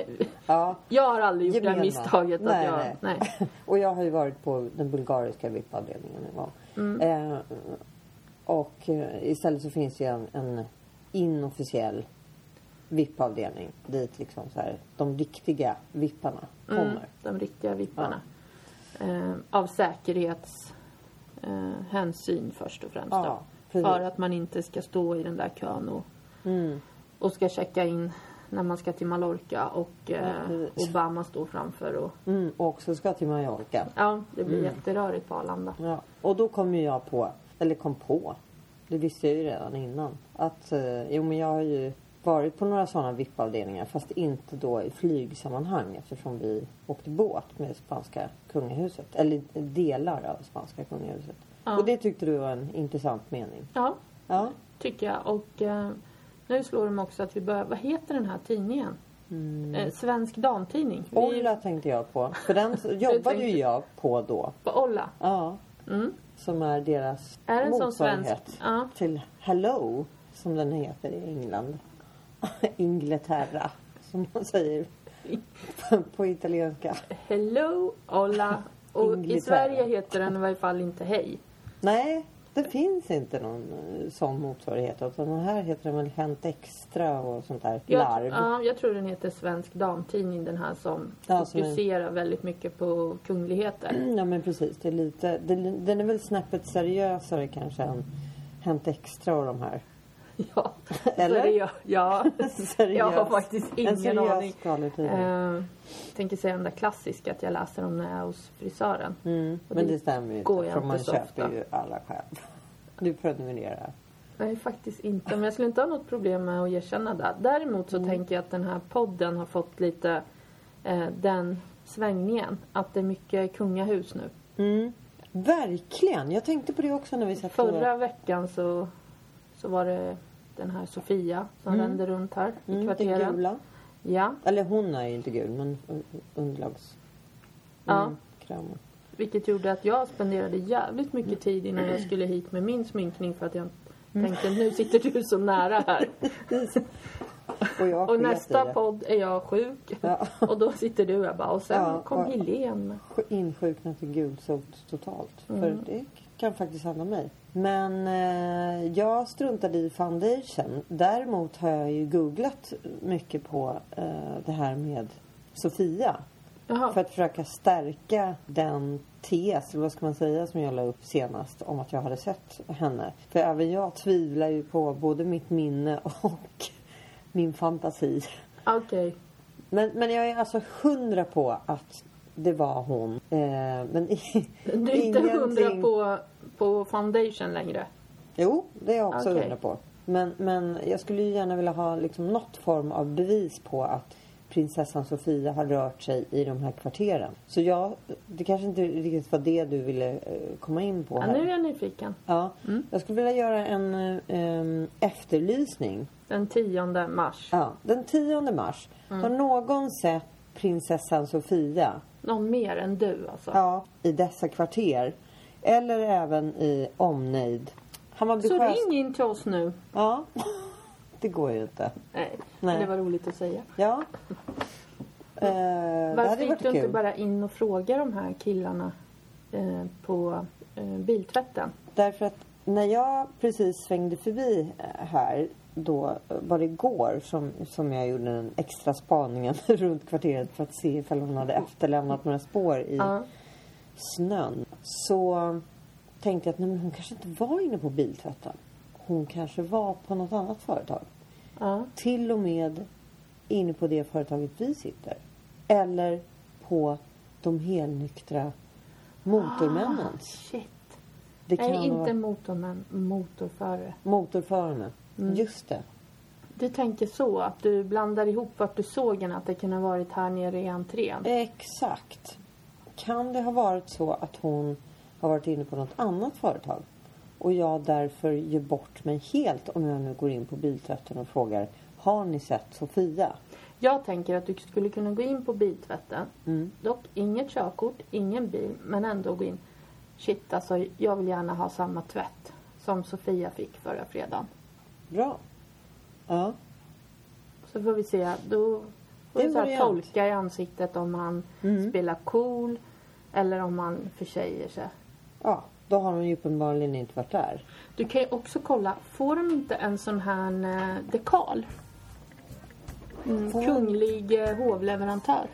[SPEAKER 3] Ja.
[SPEAKER 4] Jag har aldrig gjort det här
[SPEAKER 3] Gemena.
[SPEAKER 4] misstaget att
[SPEAKER 3] nej,
[SPEAKER 4] jag...
[SPEAKER 3] Nej.
[SPEAKER 4] nej.
[SPEAKER 3] och jag har ju varit på den bulgariska VIP-avdelningen en gång.
[SPEAKER 4] Mm.
[SPEAKER 3] Eh, och eh, istället så finns det ju en, en inofficiell VIP-avdelning dit liksom så här, de riktiga vipparna kommer.
[SPEAKER 4] Mm, de riktiga vipparna. Eh, av säkerhetshänsyn eh, hänsyn först och främst.
[SPEAKER 3] Ja,
[SPEAKER 4] då.
[SPEAKER 3] precis. Mm.
[SPEAKER 4] För att man inte ska stå i den där kön och, och ska checka in när man ska till Mallorca och eh,
[SPEAKER 3] precis.
[SPEAKER 4] Obama står framför. Och,
[SPEAKER 3] Mm, och också ska till Mallorca.
[SPEAKER 4] ja, det blir
[SPEAKER 3] Mm.
[SPEAKER 4] jätterörigt på Arlanda.
[SPEAKER 3] Ja. Och då kom ju jag på, eller kom på, det visste jag ju redan innan, att eh, jo men jag har ju varit på några sådana VIP-avdelningar fast inte då i flygsammanhang eftersom vi åkte båt med spanska kungahuset. Eller delar av spanska kungahuset.
[SPEAKER 4] Ja.
[SPEAKER 3] Och det tyckte du var en intressant mening.
[SPEAKER 4] Ja,
[SPEAKER 3] Ja.
[SPEAKER 4] tycker jag. Och eh, nu slår de också att vi bör... Vad heter den här tidningen? Eh, Svensk Damtidning. Vi-
[SPEAKER 3] Mm. Olla tänkte jag på. För den jobbade ju
[SPEAKER 4] tänkte-
[SPEAKER 3] jag på då.
[SPEAKER 4] På Olla.
[SPEAKER 3] Ja.
[SPEAKER 4] Mm.
[SPEAKER 3] Som är deras
[SPEAKER 4] Är den som
[SPEAKER 3] motsvarighet
[SPEAKER 4] svensk? Ja.
[SPEAKER 3] till Hello, som den heter i England. Inglaterra, som man säger på italienska.
[SPEAKER 4] Hello, Olla. Och i
[SPEAKER 3] Inglaterra.
[SPEAKER 4] Sverige heter den i varje fall inte Hej.
[SPEAKER 3] Nej, det finns inte någon eh, sån motsvarighet. Utan den här heter den väl Hänt Extra och sånt där
[SPEAKER 4] Jag,
[SPEAKER 3] larv.
[SPEAKER 4] ja, jag tror den heter Svensk Damtidning, den här som
[SPEAKER 3] Ja, som är-
[SPEAKER 4] fokuserar väldigt mycket på kungligheter.
[SPEAKER 3] Ja men precis, det är lite, det, den är väl snäppet seriösare kanske än Hänt Extra och de här.
[SPEAKER 4] Ja,
[SPEAKER 3] Eller?
[SPEAKER 4] seriö- ja.
[SPEAKER 3] Seriös-
[SPEAKER 4] jag har faktiskt
[SPEAKER 3] en
[SPEAKER 4] ingen
[SPEAKER 3] seriös
[SPEAKER 4] aning.
[SPEAKER 3] skvallertidning.
[SPEAKER 4] Eh, tänker säga den där klassiska att jag läser dem när jag är hos frisören.
[SPEAKER 3] Mm,
[SPEAKER 4] Och
[SPEAKER 3] men
[SPEAKER 4] dit
[SPEAKER 3] det stämmer ju
[SPEAKER 4] går
[SPEAKER 3] inte,
[SPEAKER 4] jag
[SPEAKER 3] för man
[SPEAKER 4] så
[SPEAKER 3] köper
[SPEAKER 4] ofta.
[SPEAKER 3] ju alla själv. Du prenumererar.
[SPEAKER 4] Nej, faktiskt inte. Men jag skulle inte ha något problem med att erkänna det. Däremot
[SPEAKER 3] Mm.
[SPEAKER 4] så tänker jag att den här podden har fått lite eh, den svängningen. Att det är mycket kungahus nu.
[SPEAKER 3] Mm. Verkligen! Jag tänkte på det också när vi satt och-
[SPEAKER 4] Förra veckan så, så var det den här Sofia som rände runt här i
[SPEAKER 3] mm, det
[SPEAKER 4] kvarteren.
[SPEAKER 3] gula.
[SPEAKER 4] Ja,
[SPEAKER 3] Eller hon är ju inte gul, men un- underlags...
[SPEAKER 4] Ja.
[SPEAKER 3] Mm, kramen.
[SPEAKER 4] vilket gjorde att jag spenderade jävligt
[SPEAKER 3] Mm.
[SPEAKER 4] mycket tid innan jag skulle hit med min sminkning för att jag tänkte nu sitter du så nära här.
[SPEAKER 3] Och, jag
[SPEAKER 4] Och
[SPEAKER 3] sket i
[SPEAKER 4] nästa
[SPEAKER 3] det.
[SPEAKER 4] podd är jag sjuk.
[SPEAKER 3] Ja.
[SPEAKER 4] Och då sitter du här bara. Och sen
[SPEAKER 3] Ja,
[SPEAKER 4] kom
[SPEAKER 3] och-
[SPEAKER 4] Helene med.
[SPEAKER 3] insjuknat i gulsot totalt. För det kan faktiskt hända mig. Men eh, jag struntade i foundation. Däremot har jag ju googlat mycket på eh, det här med Sofia.
[SPEAKER 4] Jaha.
[SPEAKER 3] För att försöka stärka den tes, eller vad ska man säga, som jag la upp senast om att jag hade sett henne. För även jag tvivlar ju på både mitt minne och min fantasi.
[SPEAKER 4] Okej.
[SPEAKER 3] Men, men jag är alltså hundra på att det var hon. Eh, men i,
[SPEAKER 4] Du är inte hundra
[SPEAKER 3] ingenting-
[SPEAKER 4] på, på foundation längre.
[SPEAKER 3] Jo, det är jag också
[SPEAKER 4] Okej.
[SPEAKER 3] hundra på. Men, men jag skulle ju gärna vilja ha liksom något form av bevis på att prinsessan Sofia har rört sig i de här kvarteren. Så jag, det kanske inte riktigt var det du ville eh, komma in på
[SPEAKER 4] Ja,
[SPEAKER 3] här.
[SPEAKER 4] nu är jag Mm. nyfiken.
[SPEAKER 3] Ja, jag skulle vilja göra en eh, em, efterlysning.
[SPEAKER 4] Den 10 mars.
[SPEAKER 3] Ja, den 10 mars. Har
[SPEAKER 4] Mm.
[SPEAKER 3] någon sett prinsessan Sofia?
[SPEAKER 4] Någon mer än du alltså.
[SPEAKER 3] Ja, i dessa kvarter. Eller även i omnejd. Hammarby
[SPEAKER 4] Så
[SPEAKER 3] sjöstad.
[SPEAKER 4] ring in till oss nu.
[SPEAKER 3] Ja, det går ju inte.
[SPEAKER 4] Nej,
[SPEAKER 3] Nej.
[SPEAKER 4] det var roligt att säga.
[SPEAKER 3] Ja. Eh, det
[SPEAKER 4] Varför
[SPEAKER 3] hade
[SPEAKER 4] gick
[SPEAKER 3] varit
[SPEAKER 4] du inte
[SPEAKER 3] kul.
[SPEAKER 4] bara in och fråga de här killarna eh, på eh, biltvätten?
[SPEAKER 3] Därför att när jag precis svängde förbi eh, här då eh, var det igår som, som jag gjorde den extra spaningen runt kvarteret för att se ifall hon hade efterlämnat några spår i
[SPEAKER 4] Ja.
[SPEAKER 3] snön. Så tänkte jag att nej, men hon kanske inte var inne på biltvätten. Hon kanske var på något annat företag.
[SPEAKER 4] Ja.
[SPEAKER 3] Till och med inne på det företaget vi sitter. Eller på de helnyktra motormännens.
[SPEAKER 4] Shit.
[SPEAKER 3] Det
[SPEAKER 4] Ah. Nej, inte
[SPEAKER 3] vara
[SPEAKER 4] motormän, motorförare.
[SPEAKER 3] motorförarna. Just det.
[SPEAKER 4] Du tänker så, att du blandar ihop vart du såg henne, att det kunde ha varit här nere i entrén.
[SPEAKER 3] Exakt. Kan det ha varit så att hon har varit inne på något annat företag och jag därför ger bort mig helt om jag nu går in på biltvätten och frågar har ni sett Sofia?
[SPEAKER 4] Jag tänker att du skulle kunna gå in på biltvätten.
[SPEAKER 3] Mm.
[SPEAKER 4] Dock inget körkort, ingen bil, men ändå gå in. Shit, alltså jag vill gärna ha samma tvätt som Sofia fick förra fredagen.
[SPEAKER 3] Bra. Ja.
[SPEAKER 4] Så får vi se. Då får
[SPEAKER 3] Det Mm. är
[SPEAKER 4] vi så här
[SPEAKER 3] variant.
[SPEAKER 4] tolka i ansiktet om han spelar cool eller om han försäger sig.
[SPEAKER 3] ja. Då har hon ju uppenbarligen inte varit där.
[SPEAKER 4] Du kan ju också kolla, får de inte en sån här eh, dekal? Mm,
[SPEAKER 3] Får-
[SPEAKER 4] kunglig eh, hovleverantör.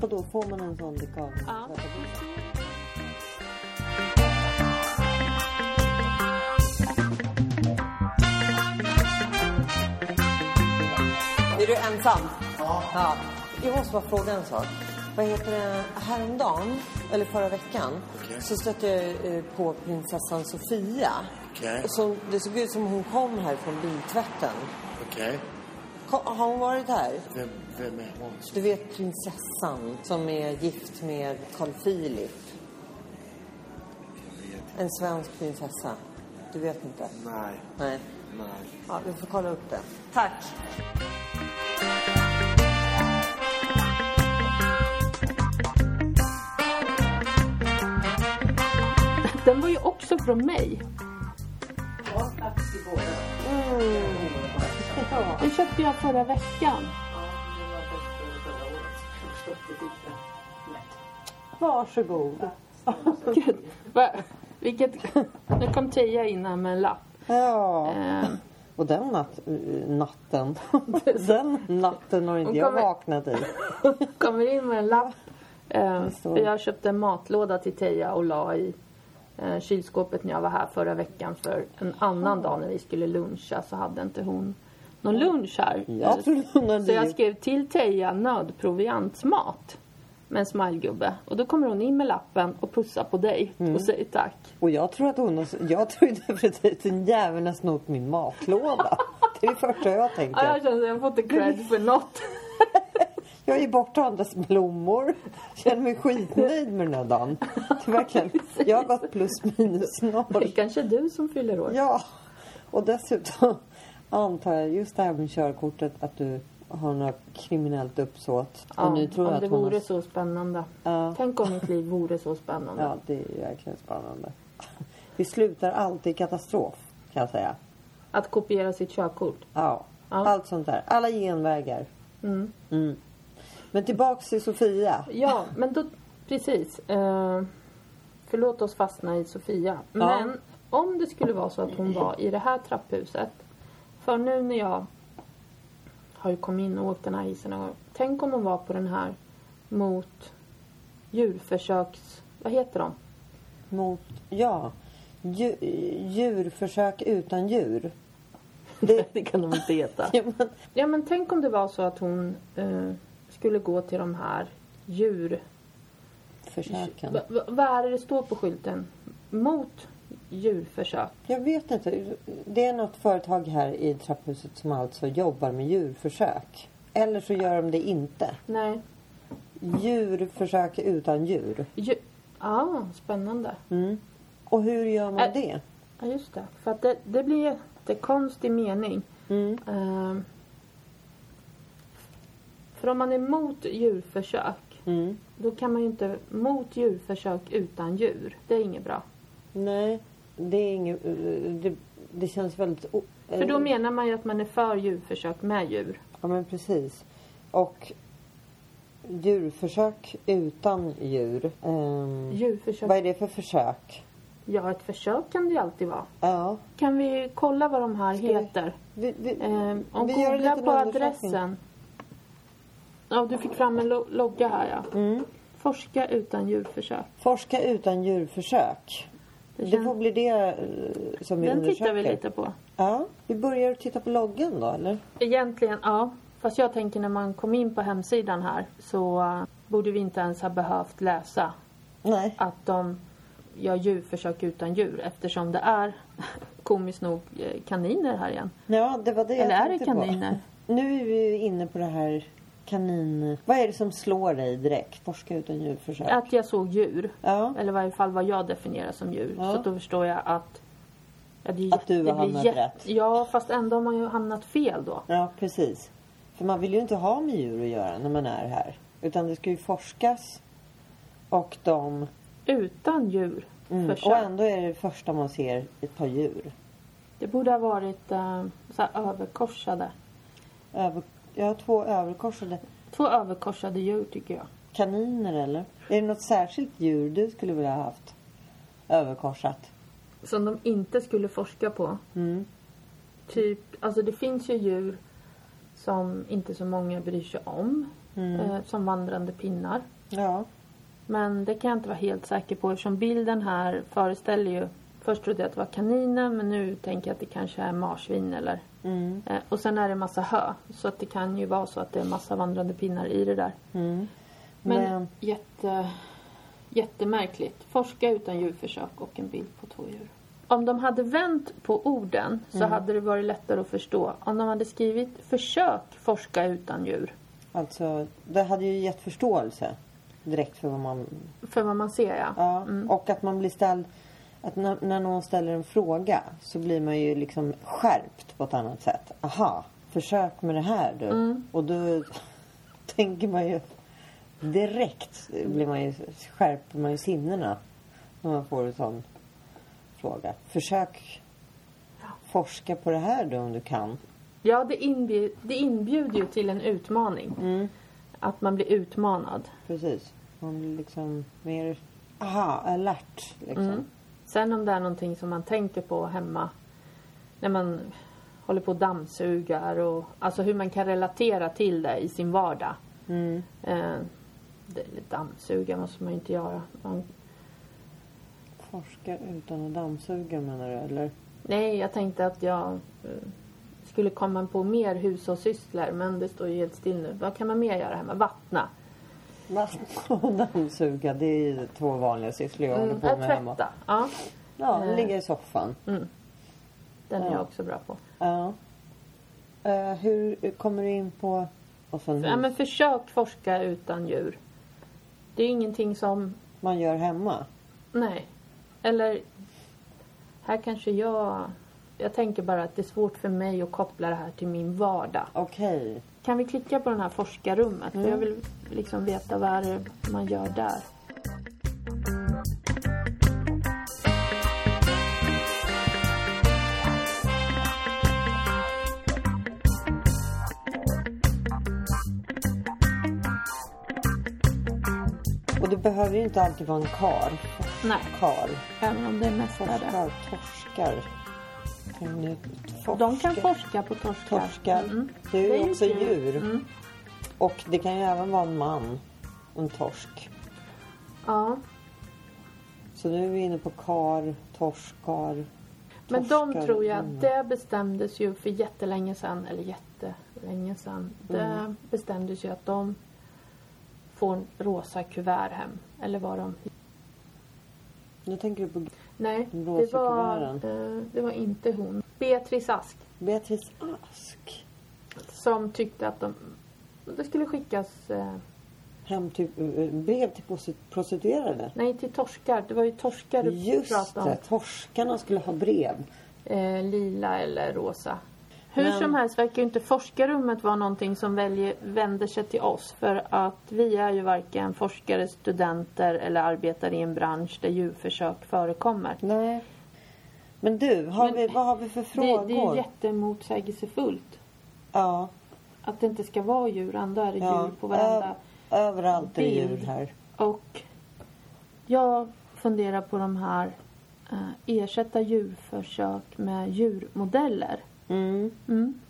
[SPEAKER 3] Och då får man en sån dekal.
[SPEAKER 4] Ja.
[SPEAKER 3] Är du ensam? Ja. Jag måste bara fråga en sak. Vad heter det? Häromdagen, eller förra veckan, så stötte jag eh, på prinsessan Sofia.
[SPEAKER 6] Okej.
[SPEAKER 3] Som, det såg ut som hon kom här från biltvätten.
[SPEAKER 6] Okej.
[SPEAKER 3] Ko- Har hon varit här?
[SPEAKER 6] Vem, vem är hon?
[SPEAKER 3] Du vet prinsessan som är gift med Carl Philip. En svensk prinsessa. Du vet inte?
[SPEAKER 6] Nej.
[SPEAKER 3] Nej.
[SPEAKER 6] Nej.
[SPEAKER 3] Ja, vi får kolla upp det. Tack.
[SPEAKER 4] Den var ju också från mig. Den köpte jag förra veckan.
[SPEAKER 3] Varsågod.
[SPEAKER 4] Gud, va, vilket... Nu kom Tia in här med en lapp.
[SPEAKER 3] Ja.
[SPEAKER 4] Eh,
[SPEAKER 3] Och den natt, eh, natten, den natten har inte
[SPEAKER 4] Hon
[SPEAKER 3] jag
[SPEAKER 4] kommer-
[SPEAKER 3] vaknat i.
[SPEAKER 4] kommer in med en lapp. Eh,
[SPEAKER 3] står.
[SPEAKER 4] jag köpte en matlåda till Teija och la i eh, kylskåpet när jag var här förra veckan för en annan dag när vi skulle luncha så hade inte hon någon lunch här.
[SPEAKER 3] Jag trodde hon hade
[SPEAKER 4] så jag
[SPEAKER 3] gjort-
[SPEAKER 4] skrev till Teija nödproviantsmat med en smilegubbe och då kommer hon in med lappen och pussar på dig och säger tack.
[SPEAKER 3] Och jag tror att hon har, jag tror ju definitivt att djävulen har snott min matlåda. Det är det första jag
[SPEAKER 4] Ja, jag
[SPEAKER 3] tänker.
[SPEAKER 4] känner att jag får inte cred för något.
[SPEAKER 3] Jag är borta och andras blommor. Känner mig skitnöjd med den här dagen. Det är verkligen, jag har gått plus minus noll.
[SPEAKER 4] Det kanske är du som fyller år.
[SPEAKER 3] Ja, och dessutom antar jag just det här med körkortet att du har något kriminellt uppsåt. och nu tror
[SPEAKER 4] om
[SPEAKER 3] jag
[SPEAKER 4] det
[SPEAKER 3] att hon har-
[SPEAKER 4] vore så spännande.
[SPEAKER 3] Ja.
[SPEAKER 4] Tänk om mitt liv vore så spännande.
[SPEAKER 3] Ja, det är ju verkligen spännande. Vi slutar alltid i katastrof, kan jag säga.
[SPEAKER 4] Att kopiera sitt körkort.
[SPEAKER 3] Ja.
[SPEAKER 4] Ja.
[SPEAKER 3] Allt sånt där. Alla genvägar.
[SPEAKER 4] Mm.
[SPEAKER 3] Mm. Men tillbaks till Sofia.
[SPEAKER 4] Ja, men då... Precis. Eh, förlåt oss fastna i Sofia. Men om det skulle vara så att hon var i det här trapphuset. För nu när jag har ju kommit in och åkt den här hissen någon gång. Tänk om hon var på den här mot djurförsöks... Vad heter de?
[SPEAKER 3] Mot, ja, dju- djurförsök utan djur. Det,
[SPEAKER 4] Det kan de inte heta.
[SPEAKER 3] ja, men,
[SPEAKER 4] Ja men tänk om det var så att hon eh, skulle gå till de här djur...
[SPEAKER 3] försöken.
[SPEAKER 4] Va, va, vad är det det står på skylten? Mot djurförsök.
[SPEAKER 3] Jag vet inte. Det är något företag här i trapphuset som alltså jobbar med djurförsök. Eller så gör de det inte.
[SPEAKER 4] Nej.
[SPEAKER 3] Djurförsök utan djur.
[SPEAKER 4] Djur... Ah, spännande.
[SPEAKER 3] Mm. Och hur gör man
[SPEAKER 4] Ä-
[SPEAKER 3] det?
[SPEAKER 4] Ja just det. För att det, det blir en jättekonstig mening.
[SPEAKER 3] Mm.
[SPEAKER 4] Ehm, för om man är mot djurförsök.
[SPEAKER 3] Mm.
[SPEAKER 4] Då kan man ju inte mot djurförsök utan djur. Det är inget bra.
[SPEAKER 3] Nej, det är inget... Det, det känns väldigt... o- eh,
[SPEAKER 4] För då menar man ju att man är för djurförsök med djur.
[SPEAKER 3] Ja, men precis. Och djurförsök utan djur. Ehm,
[SPEAKER 4] Djurförsök.
[SPEAKER 3] Vad är det för försök?
[SPEAKER 4] Ja, ett försök kan det ju alltid vara.
[SPEAKER 3] Ja,
[SPEAKER 4] Kan vi kolla vad de här
[SPEAKER 3] Ska vi-
[SPEAKER 4] heter?
[SPEAKER 3] vi, vi,
[SPEAKER 4] Eh, om
[SPEAKER 3] vi
[SPEAKER 4] vi
[SPEAKER 3] gör en
[SPEAKER 4] googlar
[SPEAKER 3] liten
[SPEAKER 4] på
[SPEAKER 3] undersökning.
[SPEAKER 4] adressen. Ja, du fick fram en lo- logga här ja.
[SPEAKER 3] Mm.
[SPEAKER 4] Forska utan djurförsök.
[SPEAKER 3] Forska utan djurförsök.
[SPEAKER 4] Det
[SPEAKER 3] Det
[SPEAKER 4] känns-
[SPEAKER 3] får bli det eh, som vi
[SPEAKER 4] Den
[SPEAKER 3] undersöker.
[SPEAKER 4] tittar vi lite på.
[SPEAKER 3] Ja, vi börjar titta på loggen då, eller?
[SPEAKER 4] Egentligen, ja. Fast jag tänker när man kom in på hemsidan här så eh, borde vi inte ens ha behövt läsa
[SPEAKER 3] Nej.
[SPEAKER 4] att de gör djurförsök utan djur eftersom det är komiskt nog eh, kaniner här igen.
[SPEAKER 3] Ja, det var det
[SPEAKER 4] Eller
[SPEAKER 3] jag
[SPEAKER 4] är det
[SPEAKER 3] tänkte
[SPEAKER 4] kaniner?
[SPEAKER 3] På. Nu är vi ju inne på det här kanin... Vad är det som slår dig direkt? Forska utan djurförsök.
[SPEAKER 4] Att jag såg djur.
[SPEAKER 3] Ja.
[SPEAKER 4] Eller i varje fall vad jag definierar som djur.
[SPEAKER 3] Ja.
[SPEAKER 4] Så då förstår jag att... Ja, det är
[SPEAKER 3] Att du har
[SPEAKER 4] det blir
[SPEAKER 3] hamnat
[SPEAKER 4] jätte-
[SPEAKER 3] rätt.
[SPEAKER 4] Ja, fast ändå har man ju hamnat fel då.
[SPEAKER 3] Ja, precis. För man vill ju inte ha med djur att göra när man är här. Utan det ska ju forskas. Och de...
[SPEAKER 4] Utan djur.
[SPEAKER 3] Mm,
[SPEAKER 4] försök.
[SPEAKER 3] och ändå är det första man ser ett par djur.
[SPEAKER 4] Det borde ha varit eh, så här överkorsade.
[SPEAKER 3] Över, jag har två överkorsade
[SPEAKER 4] Två överkorsade djur tycker jag.
[SPEAKER 3] kaniner, eller? Är det något särskilt djur du skulle vilja ha haft överkorsat?
[SPEAKER 4] Som de inte skulle forska på.
[SPEAKER 3] Mm.
[SPEAKER 4] Typ, alltså det finns ju djur som inte så många bryr sig om.
[SPEAKER 3] Mm.
[SPEAKER 4] Eh, som vandrande pinnar.
[SPEAKER 3] Ja.
[SPEAKER 4] Men det kan jag inte vara helt säker på eftersom bilden här föreställer ju Först trodde jag att det var kaniner men nu tänker jag att det kanske är marsvin eller
[SPEAKER 3] Mm.
[SPEAKER 4] eh, Och sen är det massa hö så att det kan ju vara så att det är massa vandrande pinnar i det där
[SPEAKER 3] Mm.
[SPEAKER 4] Men,
[SPEAKER 3] Men-
[SPEAKER 4] jätte Jättemärkligt Forska utan djurförsök och en bild på två djur Om de hade vänt på orden så
[SPEAKER 3] Mm.
[SPEAKER 4] hade det varit lättare att förstå Om de hade skrivit försök forska utan djur
[SPEAKER 3] Alltså, det hade ju gett förståelse direkt för vad man
[SPEAKER 4] För vad man ser ja,
[SPEAKER 3] Ja,
[SPEAKER 4] Mm.
[SPEAKER 3] och att man blir ställd... Att när, när någon ställer en fråga så blir man ju liksom skärpt på ett annat sätt. Aha, försök med det här du. Och då tänker man ju direkt blir man ju, skärper man ju sinnena när man får en sån fråga. Försök forska på det här då om du kan.
[SPEAKER 4] Ja, det, inbjud, det inbjuder ju till en utmaning.
[SPEAKER 3] Mm.
[SPEAKER 4] Att man blir utmanad.
[SPEAKER 3] Precis. Man blir liksom mer aha, alert liksom.
[SPEAKER 4] Sen om det är någonting som man tänker på hemma när man håller på och dammsugar och alltså hur man kan relatera till det i sin vardag.
[SPEAKER 3] Mm.
[SPEAKER 4] Eh, det, dammsuga måste man ju inte göra. Man
[SPEAKER 3] Torska utan att dammsuga menar du eller?
[SPEAKER 4] Nej, jag tänkte att jag eh, skulle komma på mer hushållssysslor, men det står ju helt still nu. Vad kan man mer göra hemma? Vattna.
[SPEAKER 3] Vattna och dammsuga det är ju två vanliga sysslor jag håller
[SPEAKER 4] Mm,
[SPEAKER 3] på
[SPEAKER 4] att
[SPEAKER 3] med hemma.
[SPEAKER 4] tvätta. Mm. Ja,
[SPEAKER 3] Ja, ligga i soffan.
[SPEAKER 4] den är
[SPEAKER 3] Ja.
[SPEAKER 4] jag också bra på.
[SPEAKER 3] Ja. Eh, hur kommer du in på... Och sen hur
[SPEAKER 4] Ja, men försök forska utan djur. Det är ingenting som...
[SPEAKER 3] man gör hemma.
[SPEAKER 4] Nej. Eller... Här kanske jag... Jag tänker bara att det är svårt för mig att koppla det här till min vardag.
[SPEAKER 3] Okej.
[SPEAKER 4] Kan vi klicka på den här forskarrummet? För jag vill liksom veta vad är det man gör där.
[SPEAKER 3] Och det behöver ju inte alltid vara en kar.
[SPEAKER 4] Nej,
[SPEAKER 3] Kar.
[SPEAKER 4] även om det är mest forskare.
[SPEAKER 3] Torskar. Torskar. Kan ni Torska.
[SPEAKER 4] De kan forska på torskar.
[SPEAKER 3] Torskar.
[SPEAKER 4] Mm.
[SPEAKER 3] Det är
[SPEAKER 4] Det är
[SPEAKER 3] ju
[SPEAKER 4] ju
[SPEAKER 3] också
[SPEAKER 4] kul.
[SPEAKER 3] djur.
[SPEAKER 4] Mm.
[SPEAKER 3] Och det kan ju även vara en man. En torsk.
[SPEAKER 4] Ja.
[SPEAKER 3] Så nu är vi inne på kar, torskar.
[SPEAKER 4] Men de
[SPEAKER 3] Torskar,
[SPEAKER 4] tror jag,
[SPEAKER 3] mm.
[SPEAKER 4] det bestämdes ju för jättelänge sedan, eller jättelänge sedan.
[SPEAKER 3] Mm.
[SPEAKER 4] Det bestämdes ju att de får rosa kuvert hem. Eller var de?
[SPEAKER 3] Nu tänker du på
[SPEAKER 4] Nej,
[SPEAKER 3] Rosa
[SPEAKER 4] det var,
[SPEAKER 3] kuverten.
[SPEAKER 4] eh, det var inte hon. Beatrice Ask
[SPEAKER 3] Beatrice Ask.
[SPEAKER 4] som tyckte att de, det skulle skickas, eh,
[SPEAKER 3] Hem till, eh, brev till prosti- prostituerade.
[SPEAKER 4] nej till torskar. Det var ju torskar du
[SPEAKER 3] Just
[SPEAKER 4] pratade om.
[SPEAKER 3] det, torskarna skulle ha brev.
[SPEAKER 4] eh, lila eller rosa. Hur
[SPEAKER 3] Men-
[SPEAKER 4] som helst verkar ju inte forskarrummet vara någonting som väljer, vänder sig till oss för att vi är ju varken forskare, studenter eller arbetar i en bransch där djurförsök förekommer.
[SPEAKER 3] Nej. Men du, har
[SPEAKER 4] Men-
[SPEAKER 3] vi, vad har vi för
[SPEAKER 4] Det,
[SPEAKER 3] frågor?
[SPEAKER 4] det är ju jättemotsägelsefullt
[SPEAKER 3] Ja,
[SPEAKER 4] att det inte ska vara djur, ändå är det
[SPEAKER 3] ja. Äh.
[SPEAKER 4] djur på varenda.
[SPEAKER 3] Ö- överallt är det djur
[SPEAKER 4] bild.
[SPEAKER 3] här.
[SPEAKER 4] Och jag funderar på de här eh, ersätta djurförsök med djurmodeller.
[SPEAKER 3] Mm.
[SPEAKER 4] Mm.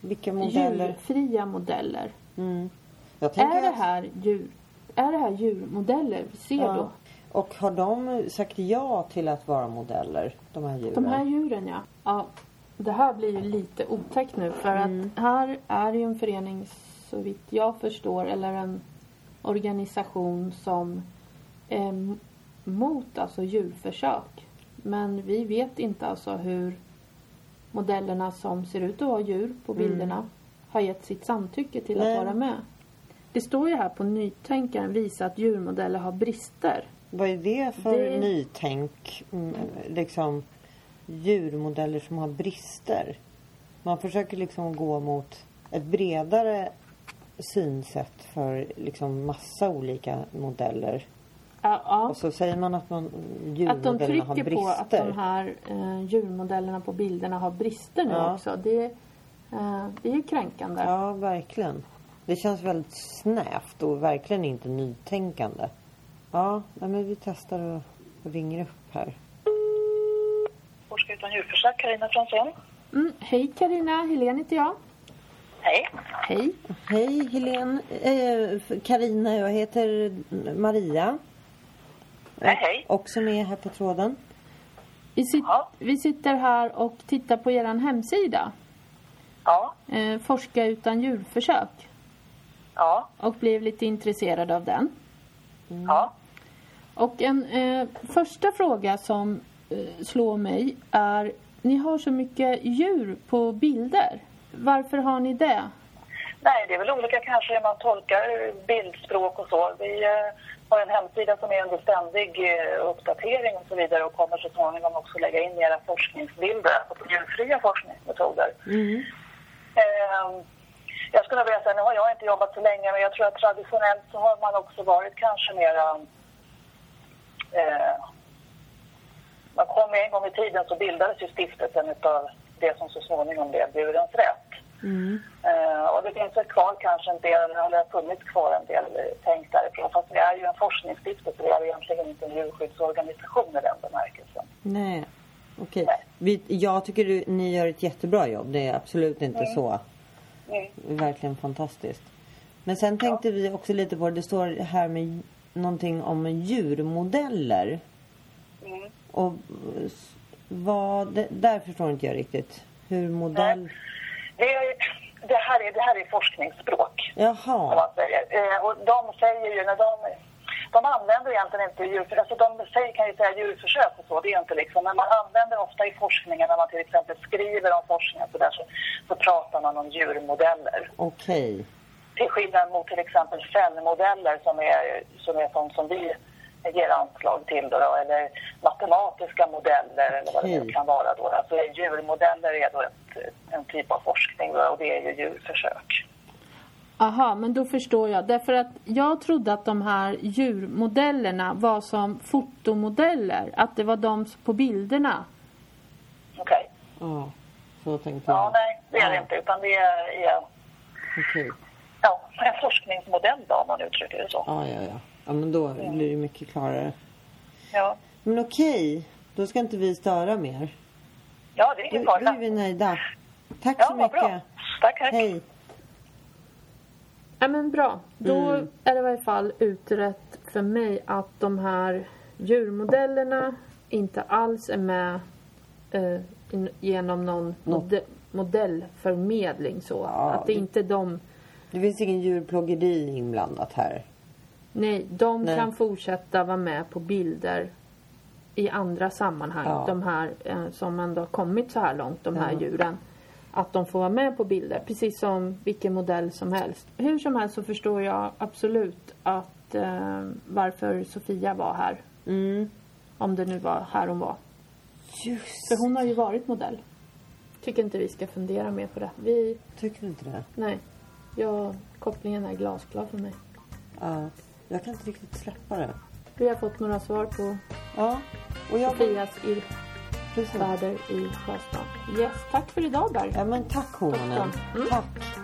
[SPEAKER 3] Vilka modeller?
[SPEAKER 4] Djurfria modeller.
[SPEAKER 3] Mm. Jag tänker
[SPEAKER 4] Är det
[SPEAKER 3] att-
[SPEAKER 4] här djur? Är det här djurmodeller vi ser
[SPEAKER 3] Ja.
[SPEAKER 4] då?
[SPEAKER 3] Och har de sagt ja till att vara modeller? De här djuren?
[SPEAKER 4] De här djuren ja. ja. Det här blir ju lite otäckt nu för
[SPEAKER 3] Mm.
[SPEAKER 4] att här är ju en förening så vitt jag förstår eller en organisation som är m- mot alltså djurförsök. Men vi vet inte alltså hur modellerna som ser ut att vara djur på bilderna har gett sitt samtycke till
[SPEAKER 3] Mm. Nej.
[SPEAKER 4] att vara med. Det står ju här på nytänkaren visa att djurmodeller har brister.
[SPEAKER 3] Vad är det för
[SPEAKER 4] Det-
[SPEAKER 3] nytänk? Mm, liksom djurmodeller som har brister. Man försöker liksom gå mot ett bredare synsätt för liksom massa olika modeller.
[SPEAKER 4] Ja, ja.
[SPEAKER 3] Och så säger man att man,
[SPEAKER 4] Att de
[SPEAKER 3] djurmodellerna har
[SPEAKER 4] trycker på
[SPEAKER 3] brister.
[SPEAKER 4] att de här eh, djurmodellerna på bilderna har brister nu
[SPEAKER 3] Ja.
[SPEAKER 4] också. Det, eh, det är ju kränkande.
[SPEAKER 3] Ja, verkligen. Det känns väldigt snävt och verkligen inte nytänkande. Ja, nej, men vi testar och ringer upp här.
[SPEAKER 7] Forska utan djurförsök, Carina Fransén.
[SPEAKER 4] Mm, hej Karina, Helene heter jag.
[SPEAKER 7] Hej.
[SPEAKER 4] Hej.
[SPEAKER 3] Hej Helene, eh, Karina, jag heter Maria.
[SPEAKER 7] Nej, hej.
[SPEAKER 3] Också med här på tråden.
[SPEAKER 4] Vi, sit,
[SPEAKER 7] Ja.
[SPEAKER 4] vi sitter här och tittar på er hemsida.
[SPEAKER 7] Ja,
[SPEAKER 4] Eh, Forska utan djurförsök.
[SPEAKER 7] ja,
[SPEAKER 4] Och blev lite intresserad av den.
[SPEAKER 7] ja.
[SPEAKER 4] Och en eh, första fråga som eh, slår mig är ni har så mycket djur på bilder. Varför har ni det?
[SPEAKER 7] Nej, det är väl olika kanske hur man tolkar bildspråk och så. Vi eh, har en hemsida som är under ständig eh, uppdatering och så vidare och kommer så småningom också lägga in era forskningsbilder, alltså djurfria forskningsmetoder. Ehm, jag skulle vilja säga, nu har jag inte jobbat så länge, men jag tror att traditionellt så har man också varit kanske mera... Eh, man kom en gång i tiden så bildades ju stiftelsen utav det som så småningom blev Djurens Rätt. Eh, och det finns väl kvar kanske en del, eller det har funnits kvar en del eh, tänk därifrån. Fast vi är ju en forskningsstiftelse, vi är ju egentligen inte en djurskyddsorganisation i den bemärkelsen.
[SPEAKER 3] Nej, okej. Vi, jag tycker du, ni gör ett jättebra jobb. Det är absolut inte så.
[SPEAKER 7] Mm.
[SPEAKER 3] Verkligen fantastiskt. Men sen tänkte vi också lite på det. Det står här med någonting om djurmodeller.
[SPEAKER 7] Mm.
[SPEAKER 3] Och s- vad, det, där förstår inte jag riktigt hur modell...
[SPEAKER 7] Det, är- det, här är, det här är forskningsspråk. som
[SPEAKER 3] Jaha.
[SPEAKER 7] man säger. Eh, och de säger ju när de... De använder egentligen inte djurförsök, alltså de säger, kan ju säga djurförsök och så, det är inte liksom, men man använder ofta i forskningen när man till exempel skriver om forskning och så där så, så pratar man om djurmodeller.
[SPEAKER 3] Okej.
[SPEAKER 7] Till skillnad mot till exempel cellmodeller som är, som är sånt som vi ger anslag till då, då, eller matematiska modeller eller vad det nu
[SPEAKER 3] Okej.
[SPEAKER 7] kan vara då. Alltså djurmodeller är då ett, en typ av forskning då, och det är ju djurförsök.
[SPEAKER 4] Aha, men då förstår jag. Därför att jag trodde att de här djurmodellerna var som fotomodeller. Att det var de på bilderna.
[SPEAKER 7] Okej.
[SPEAKER 3] Ja, så tänkte
[SPEAKER 7] Ja,
[SPEAKER 3] jag.
[SPEAKER 7] nej, det är det inte. Utan det är är-
[SPEAKER 3] Okej.
[SPEAKER 7] ja, en forskningsmodell, då, om man uttrycker det så.
[SPEAKER 3] Ja, ja, ja. Ja, men då blir det mycket klarare.
[SPEAKER 7] Ja,
[SPEAKER 3] Men okej, då ska inte vi störa mer.
[SPEAKER 7] ja det är
[SPEAKER 3] Då,
[SPEAKER 7] ingen
[SPEAKER 3] då är
[SPEAKER 7] fara.
[SPEAKER 3] vi nöjda. Tack
[SPEAKER 7] Ja,
[SPEAKER 3] så
[SPEAKER 7] vad
[SPEAKER 3] mycket.
[SPEAKER 7] bra. Tack, tack.
[SPEAKER 3] Hej.
[SPEAKER 4] Ja, men bra. Då är det i varje fall utrett för mig att de här djurmodellerna inte alls är med eh, in, genom någon mode, modellförmedling. Så.
[SPEAKER 3] Ja,
[SPEAKER 4] att det
[SPEAKER 3] det-
[SPEAKER 4] inte är de...
[SPEAKER 3] Det finns ingen djurplågeri inblandat här.
[SPEAKER 4] Nej, de
[SPEAKER 3] Nej.
[SPEAKER 4] kan fortsätta vara med på bilder i andra sammanhang.
[SPEAKER 3] Ja.
[SPEAKER 4] De här eh, som ändå har kommit så här långt, de här djuren. Att de får vara med på bilder, precis som vilken modell som helst. Hur som helst så förstår jag absolut att eh, varför Sofia var här.
[SPEAKER 3] Mm.
[SPEAKER 4] Om det nu var här hon var.
[SPEAKER 3] Just
[SPEAKER 4] För hon har ju varit modell. Tycker inte vi ska fundera mer på det. Vi,
[SPEAKER 3] Tycker du inte det?
[SPEAKER 4] nej. Jag, kopplingen är glasklar för mig.
[SPEAKER 3] Ja. Jag kan inte riktigt släppa det.
[SPEAKER 4] Vi har fått några svar på
[SPEAKER 3] Ja. Och jag...
[SPEAKER 4] Sofias ir-
[SPEAKER 3] Precis.
[SPEAKER 4] väder i Sjöstad. Yes, tack för idag Berg.
[SPEAKER 3] Ja, men tack Hononen.
[SPEAKER 4] Mm.
[SPEAKER 3] Tack.